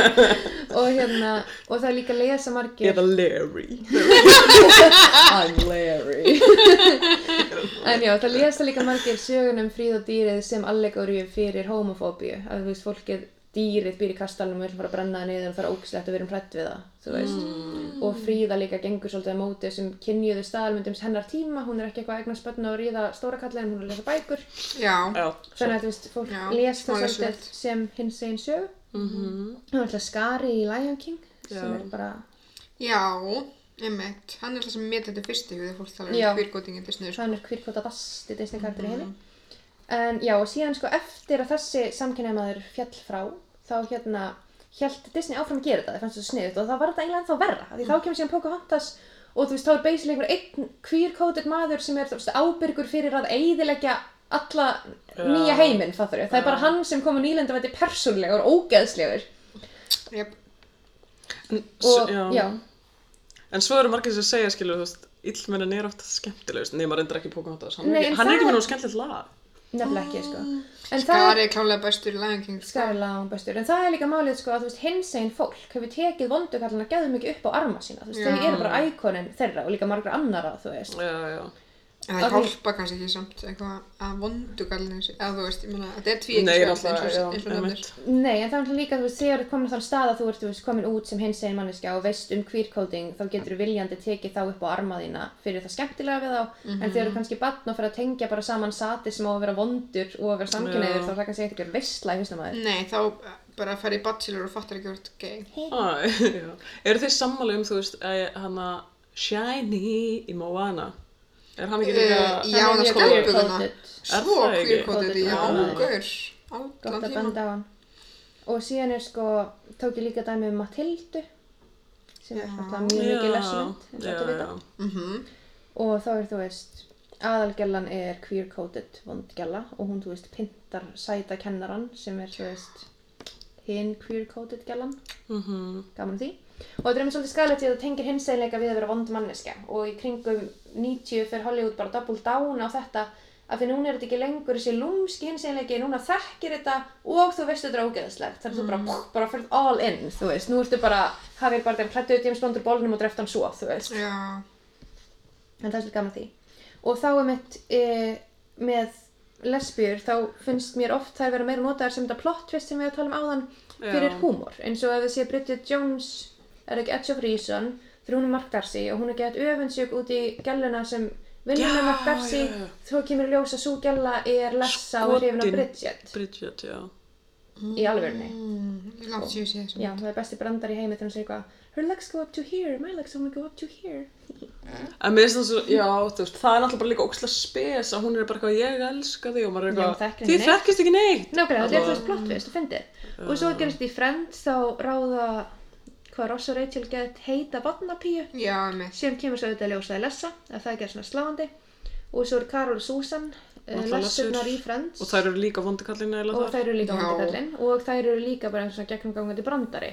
A: og hérna og það er líka að lesa margir
C: Eða Larry I'm Larry
A: En já, það lesa líka margir sögunum fríð og dýrið sem allegóriu fyrir homofóbíu. Að þú veist, fólkið, dýrið býr í kastalum og vil bara brenna það niður og það er ógslegt að vera um hrætt við það, þú veist.
B: Mm.
A: Og fríða líka gengur svolítið á móti þessum kynjuðu staðalmyndum hennar tíma. Hún er ekki eitthvað að eignast börn og ríða stóra kalla en hún er að lesa bækur.
B: Já,
C: Já,
A: Þannig að þú veist, fólk
B: Já,
A: les
B: smá
A: það svolítið
B: lesulegt.
A: sem hins einn sög.
C: Mhm.
A: Það er alltaf skari í Lion King sem
C: Já.
A: er bara...
B: já, einmitt. Hann er það sem mér þetta fyrst í hugði fólk talar
A: Já.
B: um kvírgótingin til snur.
A: hann er kvírkvota basti Disney karakter í heimi
C: Mhm.
A: en já og síðan sko eftir að þessi samkynnaði maður fjall frá þá hérna held Disney áfram að gera þetta það fannst þetta sniðut og þá var þetta eiginlega ennþá verra af því
C: Mhm.
A: þá kemur síðan Pocahontas og þú veist þá er basically einhver einn kvírkótet maður sem er þú veist, ábyrgur fyrir að eiðileggja alla
C: Já.
A: nýja heiminn fattur það er bara
C: Já.
A: hann sem kom á nýlendu og þetta er persónlegur, ógeðslegur
B: Yep.
C: En s-
A: og
C: já.
A: já,
C: En svo eru margir sem segja, skilur, þú veist, illmennin er ofta skemmtilegust, nema reyndar ekki Pocahontas, hann,
A: Nei,
C: er
A: en
C: ekki- hann er ekki
A: það
C: með
A: er-
C: nú skemmtilegt lag.
A: nefnilega ekki sko
C: Ah,
A: en það er
B: Skari er klálega bestur í Lion King. sko.
A: skæri langbæstur, en það er líka málið sko að þú veist, hinsegin fólk hefur tekið vondukallana gæðu mikið upp á arma sína, þú veist, þau
B: Já.
A: eru bara íkonin þeirra og líka margra annara, þú veist
C: Já, já.
B: En
A: Ok.
B: það hjálpa kannski ekki samt eitthvað að vondugallinu sé, að þú veist, ég meina, þetta er tví
C: Nei,
B: ekki
C: náttúrulega,
B: eins
C: já,
B: og nefnir.
C: einmitt.
A: Nei, en það er náttúrulega líka, þú veist, þegar þú ert komin á þann stað að þú ert, þú veist, komin út sem hinsegin manneskja og veist um queercoding, þá getur þú viljandi tekið þá upp á arma þína fyrir það skemmtilega við þá, en
B: Mhm.
A: þegar þú kannski bann og fyrir að tengja bara saman sati sem á að vera vondur og að vera samkynniður,
C: Já.
A: þá er það kannski eitthvað veistla í hausnum að þér.
B: Nei, þá bara fær í bachelor og fattar ekki hvort gay.
C: Æ, Ah, já. Eru þið sammála um, þú veist, að hann að Shiny í Moana? Er hann ekki líka...
B: Eh, Já, hann er skalpuguna.
C: Er
B: Svo
C: það ekki?
B: kvírkótið, já,
A: Já.
B: gaur.
A: gott
B: Allan
A: að
B: tíma.
A: benda á hann og síðan er sko tók ég líka dæmi um Matildu sem er
B: Já.
A: alltaf mjög mikið lesmynd eins og allir vita.
B: Mhm.
A: og þá er þú veist aðalgjallan er queer-coded vondgjalla og hún þú veist pyntar sæta kennaran sem er þú veist hinn queer-coded gjallan
C: Mhm.
A: gaman að því og þetta er einmitt svolítið skæðilegt því að það tengir hinseginleika við að vera vond manneska og í kringum 90 fyrir Hollywood bara double down á þetta af því núna er þetta ekki lengur þessi lúmski hinseginleiki, núna þekkir þetta og þú veist þetta er ógeðslegt þannig að þú bara, pff, bara fyrir all in, þú veist nú ertu bara, hafið bara þeim hlættuð James Bond úr bólnum og dreft hann svo, þú veist
B: Já.
A: en það er svolítið gaman að því og þá er mitt e, með lesbíur þá finnst mér oft þær vera meira notaðar sem þetta plot twist sem við erum að tala um áðan fyrir
C: Já.
A: húmor eins og ef þið sé Bridget Jones er ekki Edge of Reason fyrir hún er Mark Darcy og hún er gett öfundsjúk út í gæluna sem vinnur með
C: Já,
A: Mark Darcy
C: já, já.
A: þá kemur í ljós að svo gæla er lessa og hrifin af
C: Skotin.
A: Bridget
C: Bridget, já.
A: í alvörni
B: Mm, ég langt séu séu þessu.
A: já, það er besti brandar í heimi þegar hún segir eitthvað her legs go up to here, my legs only go up to here
C: En mér finnst það svo, já, þú veist, það er náttúrulega bara líka óksla spes að hún er bara eitthvað, ég elska þig og maður er
A: Já,
C: eitthvað,
A: hún þekkir
C: þið
A: ekki neitt."
C: þekkist ekki neitt.
A: Nákvæmlega, þetta er
C: Alla-
A: þú veist plott við, þú fyndið. Og svo gerist í Friends þá ráða hvað Ross og Rachel get heita vatnapíu
B: Já, einmitt.
A: sem kemur svo auðvitað ljósaði lessa, að það gerir svona sláandi. Og svo eru Karol og Susan, uh,
C: Náttúrulega
A: lessurnar í
C: lessur.
A: Friends
C: Og þær eru líka vondukallinu eða
A: og
C: það.
A: þær eru líka
B: Já.
A: vandikallinn og þær eru líka bara eins og gegnumgangandi brandari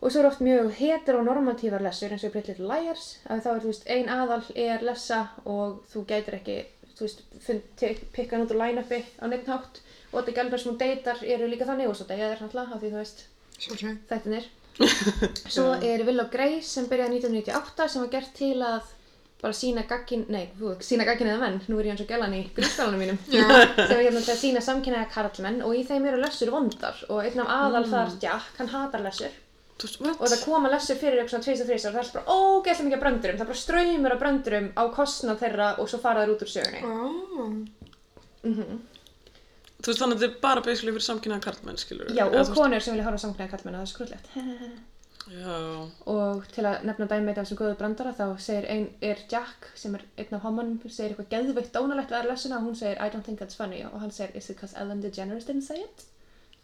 A: og svo eru oft mjög heteronormatívar lessur eins og Pretty Little Liars að þá er þú veist ein aðal er lessa og þú gætir ekki þú veist fund, tek, pikka hann út úr line-upi á neitt hátt og þetta gælverð sem hún deytar eru líka þannig og svo deyja þér náttúrulega af því þú veist
B: Sjálfsög.
A: þættinir svo er Will of Grace sem byrjaði 1998 sem var gert til að bara sína gaggin, nei, fú, sína gaggin eða menn nú er ég eins og gælan í grunnskólanum mínum
B: Já,
A: sem er hérna til að sína samkynnaða karlmenn og í þeim eru lessur vondar og einn af aðal
B: Mm.
A: þar, Jack, hann hatar lessur
C: Þú veist,
A: og það
C: what?
A: koma lessur fyrir eitthvað svona 2-3 og það er bara ógeðslega mikið af bröndurum það er bara ströymur af bröndurum á kostnað þeirra og svo fara þeir út úr sögunni
B: ó,
C: Þú veist, þannig að þetta er bara basically fyrir samkynnaða karlmenn, skilur.
A: Já, og konur sem vilja horfa á samkynnaða karlmenn og það er skrúllegt
C: Já,
A: og til að nefna dæmið af þessum góðu brandara þá segir ein, er Jack sem er einn af homanum segir eitthvað geðveitt dónalegt við aðra lessuna og hún segir I don't think that's funny og hann segir is it because Ellen DeGeneres didn't say it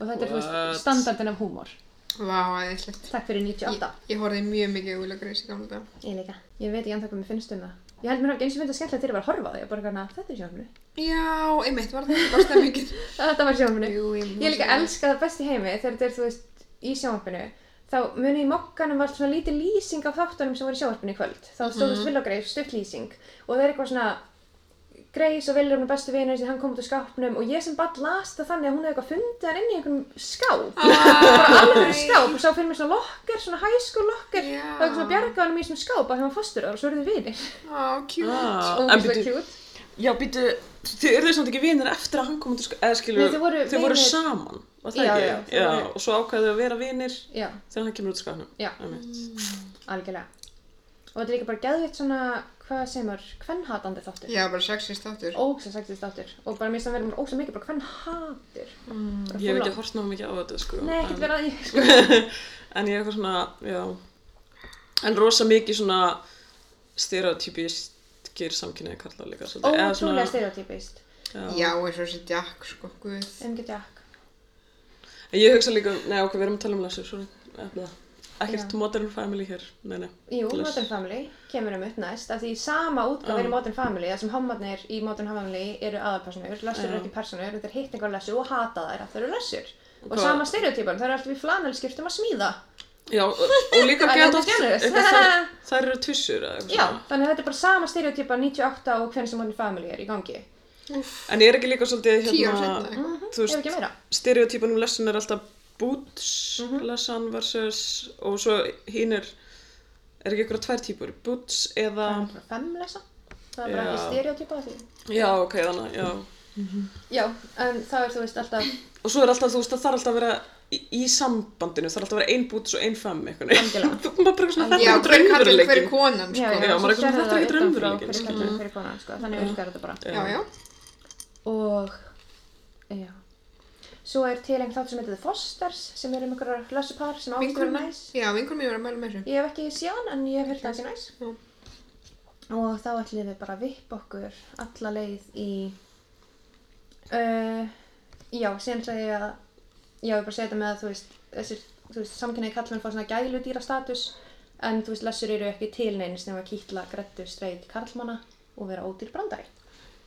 A: og þetta er þú
C: What?
A: veist standardin af húmor
B: vá, aðeinslegt.
A: Takk fyrir 98
B: Ég, ég horfði mjög mikið á Will og Grace í gamla dag.
A: Ég líka. Ég veit ekki ennþá hvað mér finnst um það. Ég held mér hafi ekki eins og myndið skemmtilegt þegar ég var að horfa á því og bara gana, þetta er sjónfinu.
B: Já, einmitt, var það var stemmingin.
A: Þetta var sjónfinu.
B: Jú, ég
A: Ég líka elska það best í heimi þegar þetta er, þú veist, í sjónfinu. Þá muni í mokkanum var svona lítið lýsing á þáttunum sem voru í sjónfinu í kvöld. Þá stóðust mm -hmm. Will og Grace stutt lýsing og það er eitthvað svona Grace og Willi er hún bestu vinur sinni, hann kom út úr skápnum og ég sem bara las það þannig að hún hefði eitthvað fundið hann inn í einhverjum skáp bara alveg skáp og sá fyrir mér svona lokker, svona high school lokker
B: Já.
A: og eitthvað svona bjarga hann í svona skáp að það var fostur og svo eru þið vinir
B: Á, cute.
C: Ah,
A: og
C: en
A: það er
C: bíddu,
A: cute
C: Já, býtu, þið eru samt ekki vinir eftir að hann kom út úr sko- eða skilur,
A: Nei, þau voru
C: þau voru
A: vinir-
C: saman, var það
A: Já,
C: ekki?
A: já, þau
C: já,
A: voru-
C: og svo ákvæðu þau að vera vinir
A: Já,
C: þegar hann kemur út úr skapnum.
A: já, algjörlega og þetta er líka bara geðvitt svona hvað sem er kvennhatandi þáttur
B: Já, bara sexist þáttur.
A: ógsa sagtist þáttur og bara mér sem verður mér ógsa mikið bara kvennhatur mm,
C: Ég hef ekki hort náðu mikið á þetta, sko.
A: Nei, ekkert verið að ég sko
C: en ég er eitthvað svona, já, en rosa mikið svona stereotypískir samkynniði karlar líka. svolítið. Eða
A: ótrúlega stereotypist
C: Já.
B: Já, eins og þessi Jack, sko, guð.
A: MG Jack
C: En Ég hugsa líka, um- nei, ok, við erum að tala um lesur, sorry, eftir Ekkert
A: Já.
C: modern family hér, nei, nei.
A: Jú,
C: Les.
A: Modern Family kemur um upp næst af því sama útgáð
C: Já.
A: er í Modern Family þar sem hommarnir í Modern Family eru aðalpersonur lessur
C: Já.
A: eru ekki personur, þetta er hitt einhver lessu og hata þær að þær eru lessur og
C: Hvað-
A: sama stereotypan, þær eru alltaf í flanelskiptum að smíða
C: Já, og og
A: Æ,
C: líka gett
A: þetta er
C: oft,
A: generous.
C: eitthvað þær, þær eru tussur eða eitthvað
A: Já, þannig að þetta er bara sama stereotypa 98 og hvernig sem Modern Family er í gangi ef
C: En er ekki líka svolítið
B: Tíu ára
C: hérna,
B: seinna, eitthvað.
C: þú
A: ekki
C: veist,
A: meira
C: stereotypan um lessun er alltaf boots, lessan versus, og svo hinn er, er ekki ykkur tvær típur, boots eða,
A: Það er bara femlesa Það er bara
C: Ah. Já.
A: ekki stereotypa því
C: já, ok, þannig, já.
A: Já, en það er þú veist alltaf
C: Og svo er alltaf, þú veist, það þarf alltaf að vera í, í sambandinu, það þarf alltaf að vera ein boots og ein fem, eitthvað.
A: Algjörlega. Sko.
C: Þú maður bara eitthvað svona,
B: Já,
C: þetta
B: hver
C: er ekki
B: kallur, hver er
C: raunveruleikin.
A: Já,
B: konan, sko.
A: já,
C: Já, maður
A: svo
C: er eitthvað svona,
A: sérðu það
C: þetta er ekkert
A: utan frá,
C: raunveruleikinn,
A: Fyrir
C: sko.
A: kallinn, fyrir konan, sko,
C: Mhm.
A: þannig virkar þetta bara
B: Já, já.
A: Og, já Svo er til einn þátt sem heitir The Fosters sem er um einhverjar lössupar sem ástu verið
B: Vinkonum,
A: næs
B: já, vinkonum ég var að mæla með þessu.
A: Ég hef ekki séð hann en ég hef heyrt að það sé næs
B: Já.
A: Og þá ætlum við bara að vippa okkur alla leið í uh, Já, síðan sagði ég að Já, ég bara segja þetta með að þú veist þessir, þú veist, samkynniði kallmenn fá svona gælu dýrastatus en þú veist, lessur eru ekki til neins nema að kýtla, grættu, streit, karlmanna og vera ódýr brandari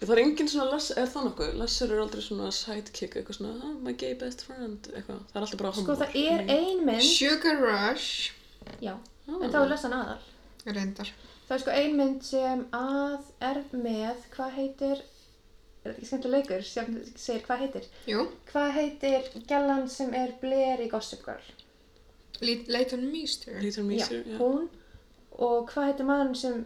C: Það er engin svona, les, er það nokkuð? Lessur eru aldrei svona sidekick, eitthvað svona, oh, my gay best friend, eitthvað. Það er alltaf bara
A: Sko,
C: homar.
A: það er ein mynd
B: Sugar Rush,
A: Já, en þá er lessan aðal
B: reyndar.
A: Það er sko ein mynd sem að er með, hvað heitir Er þetta ekki skemmtileg leikur sem segir hvað heitir?
B: Jú,
A: Hvað heitir gælan sem er Blair í Gossip Girl?
B: Le- Leighton Meester.
C: Lítur mýsir, já.
A: Hún og hvað heitir maðurinn sem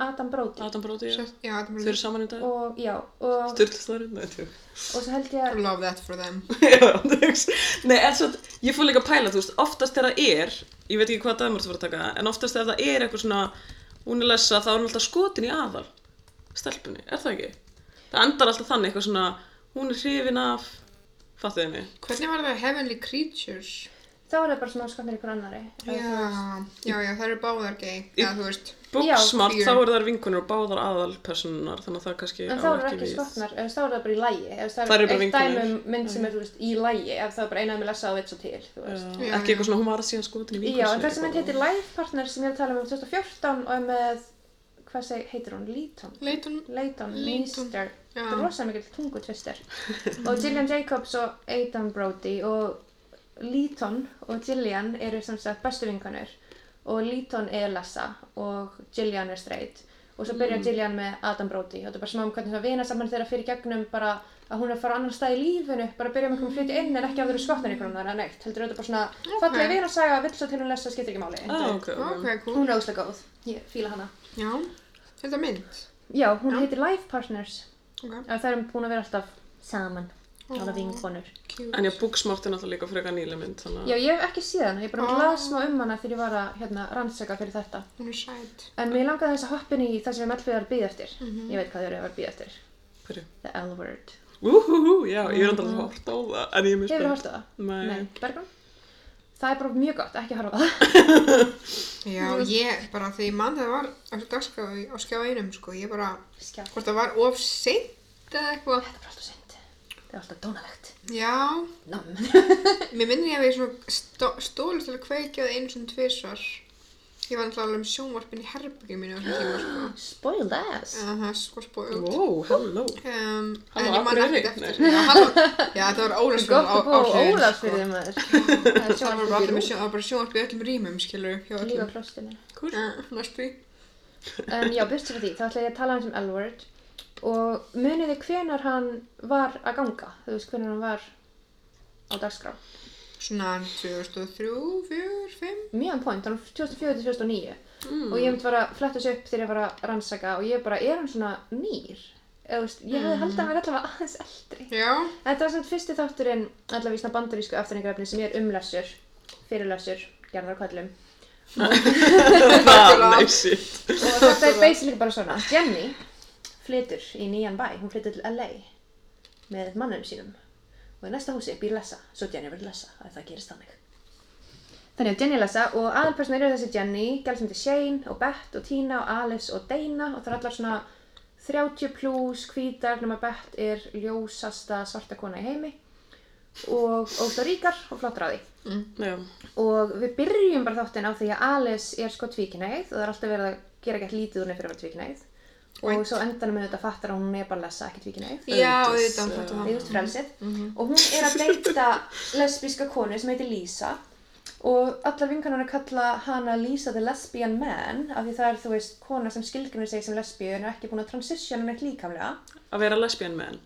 A: Adam Brody?
C: Adam Brody, já.
B: Svo- Já, þetta
C: Þau
B: er
C: eru saman í dag.
A: Og já, og,
C: Sturl Þorri, nei, tjók.
A: og svo held ég
B: bara
A: að
B: love that for them.
C: hérna, Já, þú veist. Nei, en svo, ég fór líka að pæla, þú veist, oftast þegar það er, ég veit ekki hvað dæmur þú fyrir að taka, en oftast þegar það er eitthvað svona, hún er lesa, þá er hún alltaf skotin í aðal, stelpunni, er það ekki? Það endar alltaf þannig, eitthvað svona, hún er hrifin af, fattuðið mig.
B: Hvernig var það Heavenly Creatures?
A: þá er það bara svona skotnir ykkur annari.
B: Já, já, já, það eru báðar gay. Já, þú veist.
C: Bóksmart,
B: Já,
C: þá eru þar vinkunir og báðar aðalpersonunar, þannig að það kannski
A: En þá er það ekki skotnar, þá er það bara í lægi. Það
C: Þær eru
A: er
C: bara
A: eitt
C: vinkonur.
A: dæmi um mynd sem er þú veist, í lægi, ef það er bara einað með lesa og vitt svo til, þú veist.
C: Já,
B: Já,
C: ekki
B: já.
C: eitthvað svona, hún var að síðan skotin í
A: Já, en þessi mynd
C: eitthvað.
A: heitir Life Partner sem ég er að tala um um 2014 og er með, hvað seg, heitir hún, Leighton?
B: Leighton,
A: Leighton,
B: Leighton,
A: Meester,
B: já.
A: þetta er rosa mikill tungutvistir og Gillian Jacobs og Aidan Brody og Leighton og Gillian eru sem sagt bestu vinkonur og Leighton er lessa og Gillian er straight og svo byrjar Gillian með Adam Brody og þetta er bara smá um hvernig það vina saman þeirra fyrir gegnum bara að hún er að fara á annan stað í lífinu bara byrja með einhverjum flytja inn en ekki að þau eru skotnar ykkur um það neitt heldur þetta bara svona okay. fallega vina að segja vill svo til hún lessa skiptir ekki máli
C: Ah, ok, ok.
B: ok, cool.
A: hún er óslega góð, Oh. ég fíla hana
B: Já, þetta er mynd.
A: já, hún heitir Life Partners
B: Ok,
A: Já, það erum búin að vera alltaf saman, alveg vinkonur.
B: cute.
C: En já, Booksmart er náttúrulega líka frekar nýlega mynd, þannig að...
A: Já, ég hef ekki séð hana, ég bara
B: Ah.
A: oh. las smá um hana þegar ég var að hérna, rannsaka fyrir þetta.
B: Hún er sæt.
A: En mér langaði þess að hoppa inn í það sem við mellum við erum býð eftir. Ég veit hvað þau eru að vera býð eftir.
C: Hverju?
A: The L-word.
C: Úhúhú, já, ég er enda að horta á það, en ég er mjög
A: Ah. Hefur þú
C: spennt.
A: hortið það?
C: Nei.
A: Bergrún? Það er bara mjög gott, ekki horfa á það.
B: Já, ég bara, þegar ég mann það var á dagskráði á skjá einum, sko, ég bara,
A: Skjá, það
B: hvort það var of seint eða eitthvað.
A: er bara alltaf synd. Það er alltaf dónalegt.
B: Já,
A: Nam.
B: mér minnir ég að við svona stó, stólu til að kveikja það einu svona tvisvar. Ég var náttúrulega alveg um sjónvarpin í herbyggjum mínu á þessum tíma, sko.
A: Spoiled ass.
B: Eða það er sko spóið út.
C: Wow, hello.
B: Um,
C: Halló,
B: en ég man
C: Akureyri?
B: ekkert eftir. Já, halló, já, þetta var ólagsfjörn
A: Gott
B: á
A: að búa á
B: áhrifin, sko.
A: Ólafsfyrði maður. Það er
B: Það var
A: sjónvarpið í
B: bara allir með
A: Rúv.
B: sjón- það var bara sjónvarp í öllum rýmum, skilur, hjá
A: Líka
B: öllum.
A: klostinu.
C: Cool.
B: Uh, næstu.
A: En já, byrst fyrir því, þá ætla ég að tala um sem L-word um og muniði hvenar hann var að ganga þú veist hvenar hann var á dagskrá
B: Svona 2003, 4, 5.
A: mjög on point, hann var 2004-2009 og ég myndi bara að fletta þessu upp þegar ég var að rannsaka og ég bara, er hann svona nýr? Eða, þú veist, ég hefði haldið að hann væri allavega aðeins eldri
B: Já.
A: Þetta var svona fyrsti þátturinn allavega í svona bandarísku aftaningrafni sem er um lesur, fyrir lesur, gerðar kvallum.
B: Ah,
C: Nei, shit.
A: Og þetta er basically bara svona, Jenny flytur í nýjan bæ, hún flytur til LA með mannum sínum. Og í næsta húsi býr Lessa, svo Jenny verður Lessa, að það gerist þannig. Þannig að Jenny er Lessa og aðalpersonar eru þessi Jenny, gæl sem þetta Shane og Bett og Tina og Alice og Dana og það er allar svona 30 pluss hvítar nema Bett er ljósasta svarta kona í heimi og ósla ríkar og flottur á því.
C: Já.
A: og við byrjum bara þáttinn á því að Alice er sko tvíkinæð og það er alltaf verið að gera ekkert lítið hún er fyrir að vera tvíkinæð og
B: Right.
A: svo endanum með þetta fattar að hún er bara lesa ekki tvíkinæð
B: Já,
C: Auðvitað,
B: auðvitað, þetta
C: já. Mhm.
A: það
B: var.
A: er just frelsið og hún er að deyta lesbíska konu sem heitir Lisa og allar vinkanarnar kalla hana Lisa the lesbian man af því það er þú veist kona sem skilgrunir sig sem lesbíu en er ekki búin að transitiona neitt líkamlega
C: Að vera lesbian menn.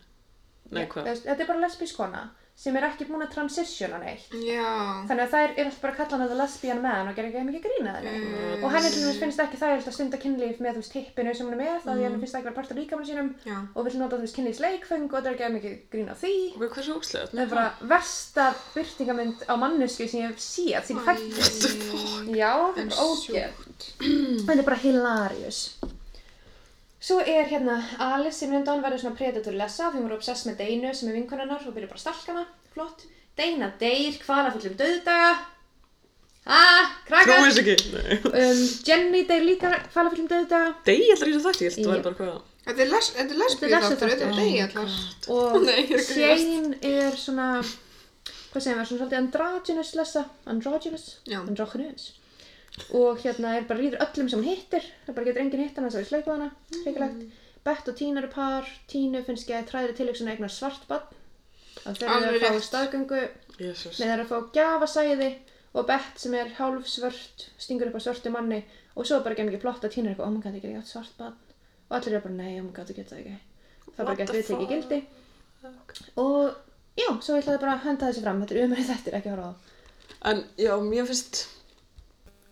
C: Nei,
A: Þú
C: hvað?
A: veist, þetta er bara lesbísk kona sem er ekki búin að transitiona neitt
B: Já.
A: Þannig að þær eru alltaf bara að kalla hann the lesbian man og gera ekki mikið grína þenni. Mm. Og henni til dæmis finnst ekki þægilegt að stunda kynlíf með þú veist hippinu sem hún er með, þá því henni finnst það ekki vera partur líkamann sínum
B: Mm. Já.
A: og vill nota þú veist kynlífsleikfeng og það er ekki mikið grína því.
C: Hvað er svo óslega?
A: Það er bara versta byrtingamynd á mannesku sem ég hef séð sín fættis. Já, það er bara ógeð. Þetta er bara hilarious. Svo er hérna Alice sem hérna verður svona predator lesa því hún er obsess með Deinu sem er vinkonarnar og byrjar bara að stalka hana, flott. Deina deyr, hvala fullum döðdaga. Ha, krakkar.
C: Trúið þess ekki. Nei.
A: Um, Jenny deyr líka hvala fullum döðdaga
C: Degi alltaf í þessu þætti, ég held að það væri bara hvað.
B: Þetta er les- þetta er lesbíu
A: Þetta er
B: þáttur, þetta er
A: lesbíu
B: degi allar.
A: og
B: Nei, ég er að grínast.
A: Shane er svona, hvað segir maður, svona svolítið androgynous lesa, androgynous,
B: Já.
A: androgynous. Og hérna er bara rýður öllum sem hún hittir, það bara getur enginn hitt hann að það er sleipað hana, hrikalegt.
C: Mm.
A: Bett og Tína eru par, Tínu finnst ekki að træðir tilöksin að eignar svart barn. Það þeir eru
B: Alveg
A: að fá
B: rétt.
A: staðgöngu,
C: Jesus.
A: nei þeir eru að fá gjafasæði og Bett sem er hálfsvört, stingur upp á svörtu manni og svo er bara ekki mikið plott að Tína er eitthvað, oh my god, ég get ekki átt svart barn. Og allir eru bara, nei, oh my god, ég get það ekki. Það er bara
C: What
A: ekki að
C: the
A: við tekið
C: fuck?
A: gildi og já, svo ætlaði bara að henda þessu fram þetta er umrið þettir, ekki að horfa á það
C: En já, mér finnst,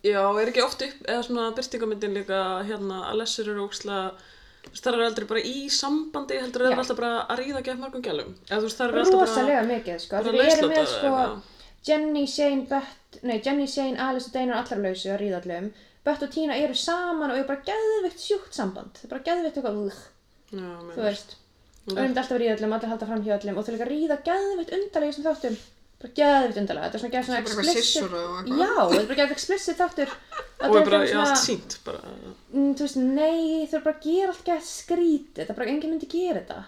C: já, er ekki oft upp, eða svona byrtingamyndin líka, hérna, að lesur eru ókslega, þú veist, það eru aldrei bara í sambandi, heldur það
A: Já.
C: eru alltaf bara að ríða gegn margum gælum. Eða þú veist, það eru alltaf bara...
A: rosalega mikið, sko,
C: bara
A: því við erum
C: lauslátað
A: með
C: eða
A: sko
C: eitthvað.
A: Jenny, Shane, Bett, nei, Jenny, Shane, Alice og Dana er allar lausu að ríða allum Bett og Tina eru saman og eru bara geðvikt sjúkt samband það er bara geðvikt eitthvað, uh,
C: Já, mér
A: þú veist og við erum alltaf að ríða allum, allir halda fram hjá allum og þau líka að ríða geðvikt undarlega í þessum þáttum bara geðvikt undarlega, þetta er svona geð svona
B: Bara eitthvað
A: explicit
B: sissur og eitthvað.
A: já, þetta er bara geðvikt explicit þáttur
C: Og
A: þetta
C: er bara,
A: svona
C: já,
A: svona-
C: allt sínt, bara.
A: mm, þú veist, nei, þau eru bara að gera allt gæða skrítið, það er bara enginn myndi gera þetta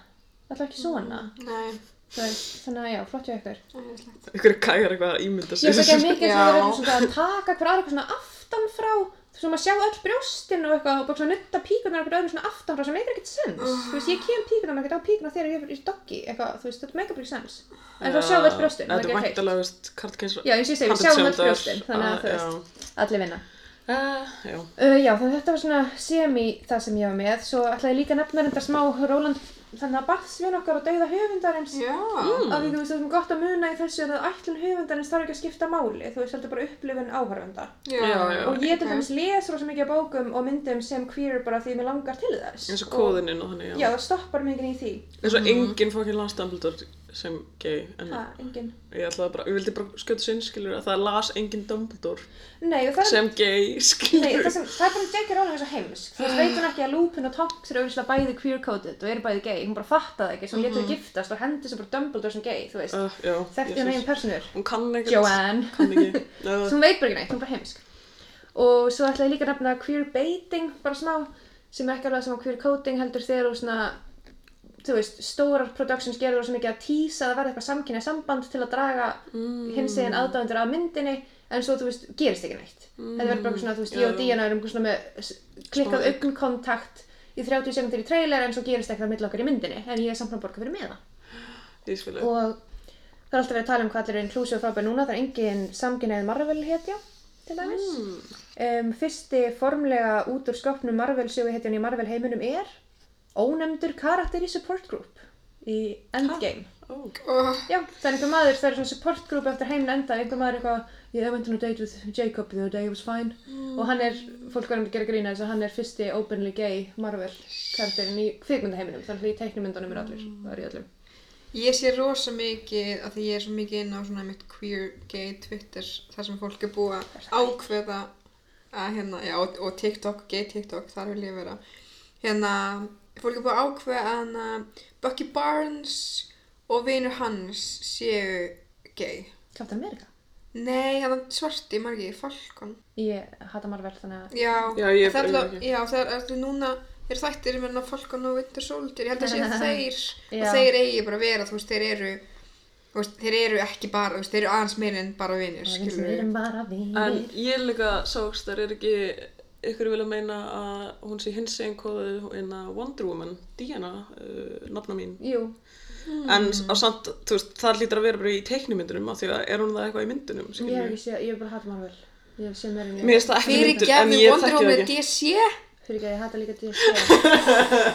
A: það er ekki svona
B: Nei,
A: Þú veist, þannig að já, flott hjá ykkur
B: æðislegt.
C: Ykkur kæjar eitthvað að ímynda
A: ég
C: sig.
A: veist ekki að mikið sem
B: Já.
A: það er svona að taka hver aðra eitthvað svona aftan frá þú veist, maður sjá öll brjóstin og eitthvað og bara svona nutta píkunar eitthvað öðru svona aftan frá sem meikir ekkert sens þú veist, ég kem píkunar ekkert á píkunar þegar ég er í doggi eitthvað, þú veist, þetta meikar bara ekki sens en þá sjá öll brjóstin,
C: Þetta er
A: það er ekki
C: væntalega, veist, kartkins...
A: Já, eins og ég segi, við sjáum öll brjóstin, þannig að þú veist, allir vinna.
C: Uh, Ah, já,
A: Uh, já, þannig að þetta var svona semi það sem ég var með, svo ætlaði ég líka að nefna þetta smá Róland, þannig að barðsvinn okkar og dauða höfundarins,
B: Já.
A: af því þú veist það sem er gott að muna í þessu að ætlun höfundarins þarf ekki að skipta máli, þú veist heldur bara upplifun áhörfunda.
C: Já, já.
A: og ég til
B: ok.
A: dæmis les rosa mikið af bókum og myndum sem queer bara því mér langar til þess.
C: eins og kóðininn og þannig,
A: Og, Sko. já, það stoppar mikið í því.
C: eins og enginn fokkin las Dumbledore sem gay en
A: Ha, engin.
C: ég ætlaði bara, ég vildi bara skjóta sinn skilur að það las enginn Dumbledore
A: Nei, og það er...
C: sem gay
A: Nei,
C: skilur
A: það, sem, það er bara J.K. Rowling svo heimsk þú veist, veit hún ekki að Lupin og Tonks eru auðvitað bæði queer-coded og eru bæði gay hún bara fattar það ekki, svo hún
C: Mhm.
A: getur giftast og hendur sem bara Dumbledore sem gay, þú veist
C: uh, já,
A: þekkti
C: Jesus.
A: hún eigin personur
C: hún kann ekkert
A: Joanne
C: kann ekki uh,
A: svo hún veit bara ekki neitt, hún er bara heimsk og svo ætla ég líka að nefna queer baiting bara smá, sem er ekki alveg sem queer coding heldur þegar og svona þú veist, stórar productions gerður svo mikið að tísa að það verði eitthvað samkynja samband til að draga mm. hins eginn aðdáðundur af myndinni en svo, þú veist, gerist ekki neitt þetta verður bara eitthvað svona, þú veist, ég og
C: Já, já.
A: Díana erum eitthvað svona með s- klikkað
C: Smá augn.
A: augnkontakt í 30 sekundir í trailer en svo gerist ekkert að milli okkar í myndinni en ég er samt að borga fyrir með
C: ég spilu
A: og það er alltaf verið að tala um hvað allir er inklusive og frábær núna, það er engin samkynneið Marvel hetja til dæmis um, fyrsti formlega út úr skopnum Marvel sögu hetjan í Marvel heiminum er ónefndur karakter í support group í Endgame
C: Ó,
B: Oh,
A: Já, það er einhver maður, það er svona support group eftir heimin enda, einhver maður eitthvað ég went on a date with Jacob the other day, it was fine og hann er, fólk var um að gera grína þess að hann er fyrsti openly gay Marvel karakterin í kvikmyndaheiminum, þannig að í teiknumyndunum er allir, það er í öllum
B: ég sé rosa mikið af því ég er svo mikið inn á svona mitt queer gay Twitter þar sem fólk er búið að ákveða að hérna, já, og, og TikTok, gay TikTok, þar vil ég vera hérna, fólk er búið að ákveða að hana, Bucky Barnes og vinur hans séu gay
A: Captain America?
B: Nei, hann svarti margi, Falcon
A: Ég hata Marvel þannig að
B: Já,
C: Já, ég-
B: það er
C: ég-
B: alveg, já, það er alveg núna er þættir með hann Falcon og Winter Soldier ég held að séu þeir
A: Já.
B: og þeir eigi bara að vera, þú veist, þeir eru þú veist, þeir eru ekki bara, þú veist, þeir eru aðeins meir en bara vinir,
A: við sem
B: skilur
A: erum bara
C: En
A: vinir
C: ég líka sást, þar er ekki ykkur vilja meina að hún sé hins einn kóðu inn að Wonder Woman, Diana, uh, nafna mín.
A: Jú, Mm.
C: En á samt, þú veist, það lítur að vera bara í teiknumyndunum af því að er hún það eitthvað í myndunum,
A: ég
C: skilur
A: hef ekki séð, ég hef bara hata Marvel Ég hef séð meira en
C: Mér
A: ég
C: finnst það ekki í
B: Fyrir
C: myndunum, en
B: gefðu
C: ég
B: Wonder
C: þekki
B: Woman
C: það ekki.
B: DC
A: Fyrir ekki að ég hata líka DC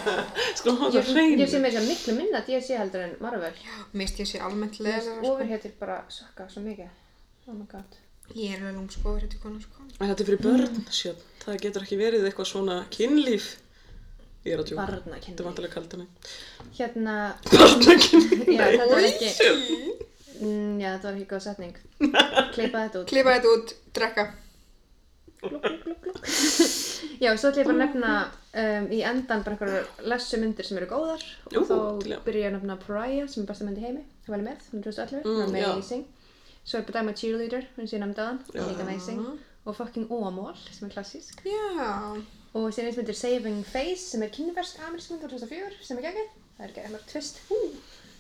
C: Sko, hún
A: Ég
C: var hreinu.
A: ég sé meira sem miklu minna DC heldur en Marvel
B: Mist ég sé almennt sko. leðar
C: sko.
A: Overheatir bara sökka svo mikið Oh my god
B: Ég er alveg lúmsko over þetta konar sko
C: En þetta er fyrir börn, sjálf. Það getur ekki verið eitthvað svona kynlíf. Ég er að tjóka. Þetta er
A: Barnakynni
C: vantilega kaldinni.
A: Hérna,
C: Barnakynlíf.
A: já, þetta var ekki
C: Sjálf.
A: mm, Já, þetta var ekki góð setning Kleipa þetta út
B: Klippa þetta út, drekka
A: glug, glug, glug, glug. Já, svo ætla ég bara að nefna um, í endan bara einhverjar lessu myndir sem eru góðar
C: Jú,
A: og þá
C: til í að-
A: byrja ég að nefna Pariah sem er besta mynd í heimi, það var með, hún er 2011 hún
C: Mm,
A: er
C: já.
A: amazing Svo er bara dæma Cheerleader, hún sé nefndaðan, líka amazing og fucking Óamól sem er klassísk
B: Já,
A: og síðan eins myndir Saving Face sem er kynversk amerísk mynd á 2004 sem er geggið, það er geggið, það er tvist Hú.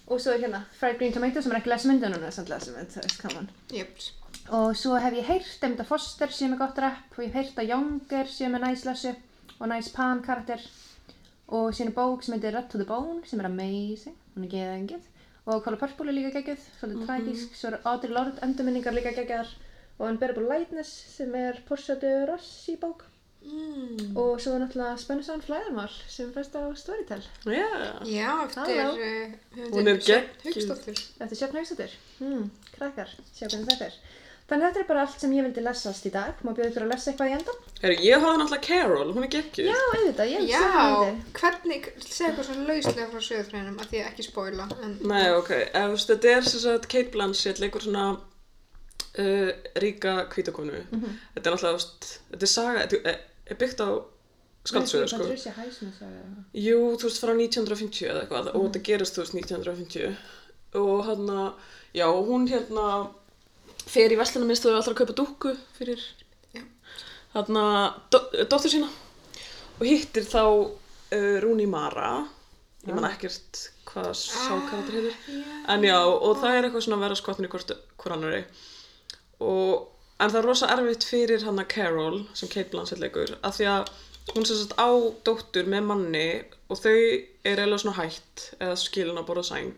A: og svo er hérna Fried Green Tomato sem er ekki lesmynd en hún er samt lesmynd, það er skaman
B: jöps
A: og svo hef ég heyrt um þetta Foster sem er gott rap og ég hef heyrt að Younger sem er næs lesu og næs pan karakter og síðan er bók sem heitir Red to the Bone sem er amazing, hún er geðengið og Color Purple er líka geggið, svolítið tragísk svo er Audre Lorde endurminningar líka geggjar og Unbearable Lightness sem er Portia de Rossi bók
B: mm.
A: og svo er náttúrulega spennisagan flæðarmál sem er fyrst á Storytel
C: Já.
B: Já, eftir
A: Halló.
B: uh, höfundinn
C: Hún er
B: Sjöfn
C: geggjuð.
B: Hauksdóttir
A: eftir Sjöfn Haugsdóttir hmm, krakkar, sjá hvernig þetta er þannig þetta er bara allt sem ég vildi lesast í dag má bjóðu ykkur að lesa eitthvað í endan
C: Herru, ég horfði náttúrulega Carol, hún er geggjuð.
A: já, auðvitað, ég
B: Já,
A: hef séð myndi
B: hvernig, segja eitthvað svona lauslega frá söðutrænum að því að ekki spoila en
C: Nei, ok. Ef þú veist, þetta er sem sagt Kate Blanchett leikur svona uh, ríka kvítakonu. Þetta er náttúrulega, þú veist, þetta er saga, þetta er- er byggt á skaldsöðu, sko.
A: Patricia Highsmith sagði það.
C: Jú, þú veist, frá 1950 eða eitthvað og þetta gerist, þú veist, 1950 og hann að, já, hún hérna fer í verslunarmiðstöðu allra að kaupa dúkku fyrir
B: Já.
C: hann að dóttur sína og hittir þá uh, Rúni Mara ég man ekkert hvað sákaratir heitir en já, og það er eitthvað svona að vera skotnir í hvort hvort annari og, en það er rosa erfitt fyrir hann að Carol sem Kate Blanchett leikur af því að hún sem sagt á dóttur með manni og þau er eða svona hætt eða skilin að borða sæng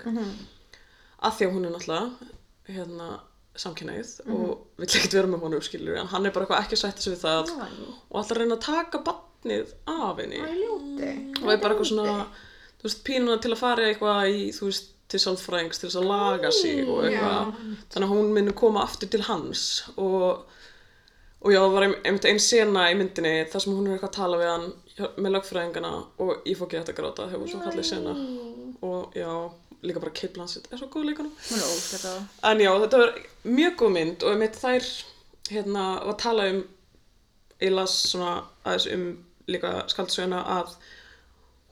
C: af því að hún er náttúrulega hérna samkynneið og vill ekkert vera með honum skilur en hann er bara eitthvað ekki að sætta sig við það
A: Næ.
C: og alltaf reyna að taka batnið af henni
A: Það er ljóti
C: og er bara eitthvað svona þú veist, pínuna til að fara eitthvað í þú veist, til sálfræðings, til þess að laga sig og eitthvað, þannig að hún muni koma aftur til hans og og já, það var ein- einmitt ein sena í myndinni þar sem hún er eitthvað að tala við hann hjá- með lögfræðingana og ég fór ekki þetta að gráta þegar hún svo fallið sena og já, líka bara Kate Blanchett er svo góð leikunum
A: Hún er óslega það
C: En já, þetta var mjög góð mynd og einmitt þær hérna, var að tala um ég las svona aðeins um líka skaldsöguna að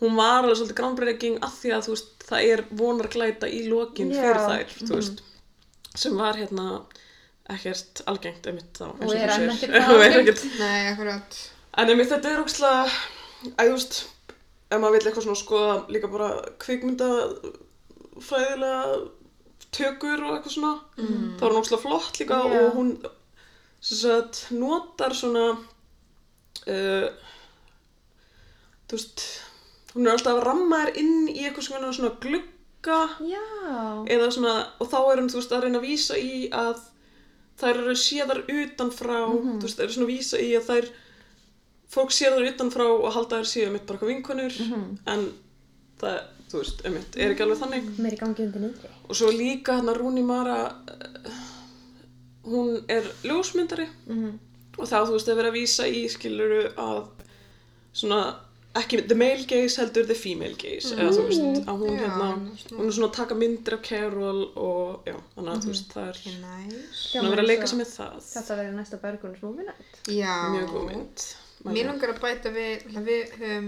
C: hún var alveg svolítið groundbreaking af því að þú veist, það er vonarglæta í lokin
A: Já. Mm.
C: fyrir þær, þú veist sem var hérna ekkert algengt einmitt þá eins
A: Og er
C: þú
A: enn
C: segir.
A: ekkert
C: Og er
A: algengt.
C: ekkert-
B: Nei, akkurat
C: En einmitt þetta er ógslag að þú veist, ef maður vill eitthvað svona skoða líka bara kvikmynda fræðilega tökur og eitthvað svona þá er hún ógslag flott líka
A: Já.
C: og hún sem sagt, notar svona uh, þú veist hún er alltaf að ramma þér inn í eitthvað svona, svona glugga
A: Já,
C: eða svona, og þá er hún þú veist að reyna að vísa í að þær eru séðar utanfrá þú veist, eru svona að vísa í að þær fólk séðar utanfrá og halda þær síðan mitt bara eitthvað vinkonur en það er, þú veist, einmitt, er ekki alveg þannig
A: Mér er í gangi undir niðri.
C: og svo líka hérna Rúni Mara eh, hún er ljósmyndari
A: Mhm.
C: og þá þú veist að vera að vísa í skiluru að svona ekki the male gaze heldur the female gaze eða þú veist að hún
B: Já,
C: hérna
B: svona.
C: hún er svona að taka myndir af Carol og já þannig að þú veist það er
B: Ekki næs.
A: Já,
C: hún er að vera að leika
A: svo-
C: sér með það
A: Þetta verður næsta bergunars móminætt.
B: Já.
C: mjög góð mynd
B: Mér langar að bæta við, að við höfum,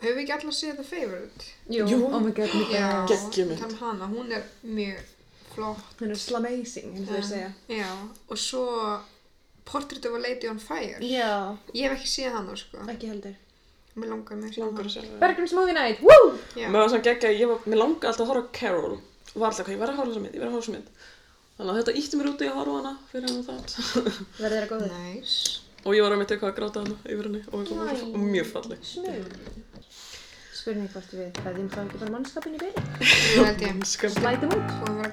B: höfum við ekki allar séð The Favourite?
A: Jú,
C: Jú.
A: oh my god, mikið.
B: Já,
C: Geggjuð mynd.
B: tala um hana, hún er mjög flott.
A: Hún er slamazing, eins og ég segja.
B: Já, og svo Portrait of a Lady on Fire.
A: Já,
B: Ég hef ekki séð hana, sko.
A: ekki heldur.
B: Mér langar mjög að sjá
C: langar
B: hana.
C: að sjá það
A: Bergunars móminætt, woo!
B: Já.
C: mér var svona geggja ég var mér langar alltaf að horfa á Carol og var alltaf hvað ég verð að horfa á þessa mynd ég verð að horfa á þessa mynd þannig að þetta ítti mér út í að horfa á hana fyrir hann það
A: Verður þeirra góður.
B: Næs.
C: og ég var að mitt eitthvað að gráta hana yfir henni og eitthvað
A: Næ.
C: mjög- og mjög falleg
A: Smug. Spurning hvort við kveðjum þá ekki bara mannskapin í byrju.
B: Þú held ég.
C: Skam.
A: Slætum út.
B: Búið að vera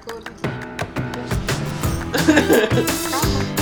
B: góður þetta. Gaman.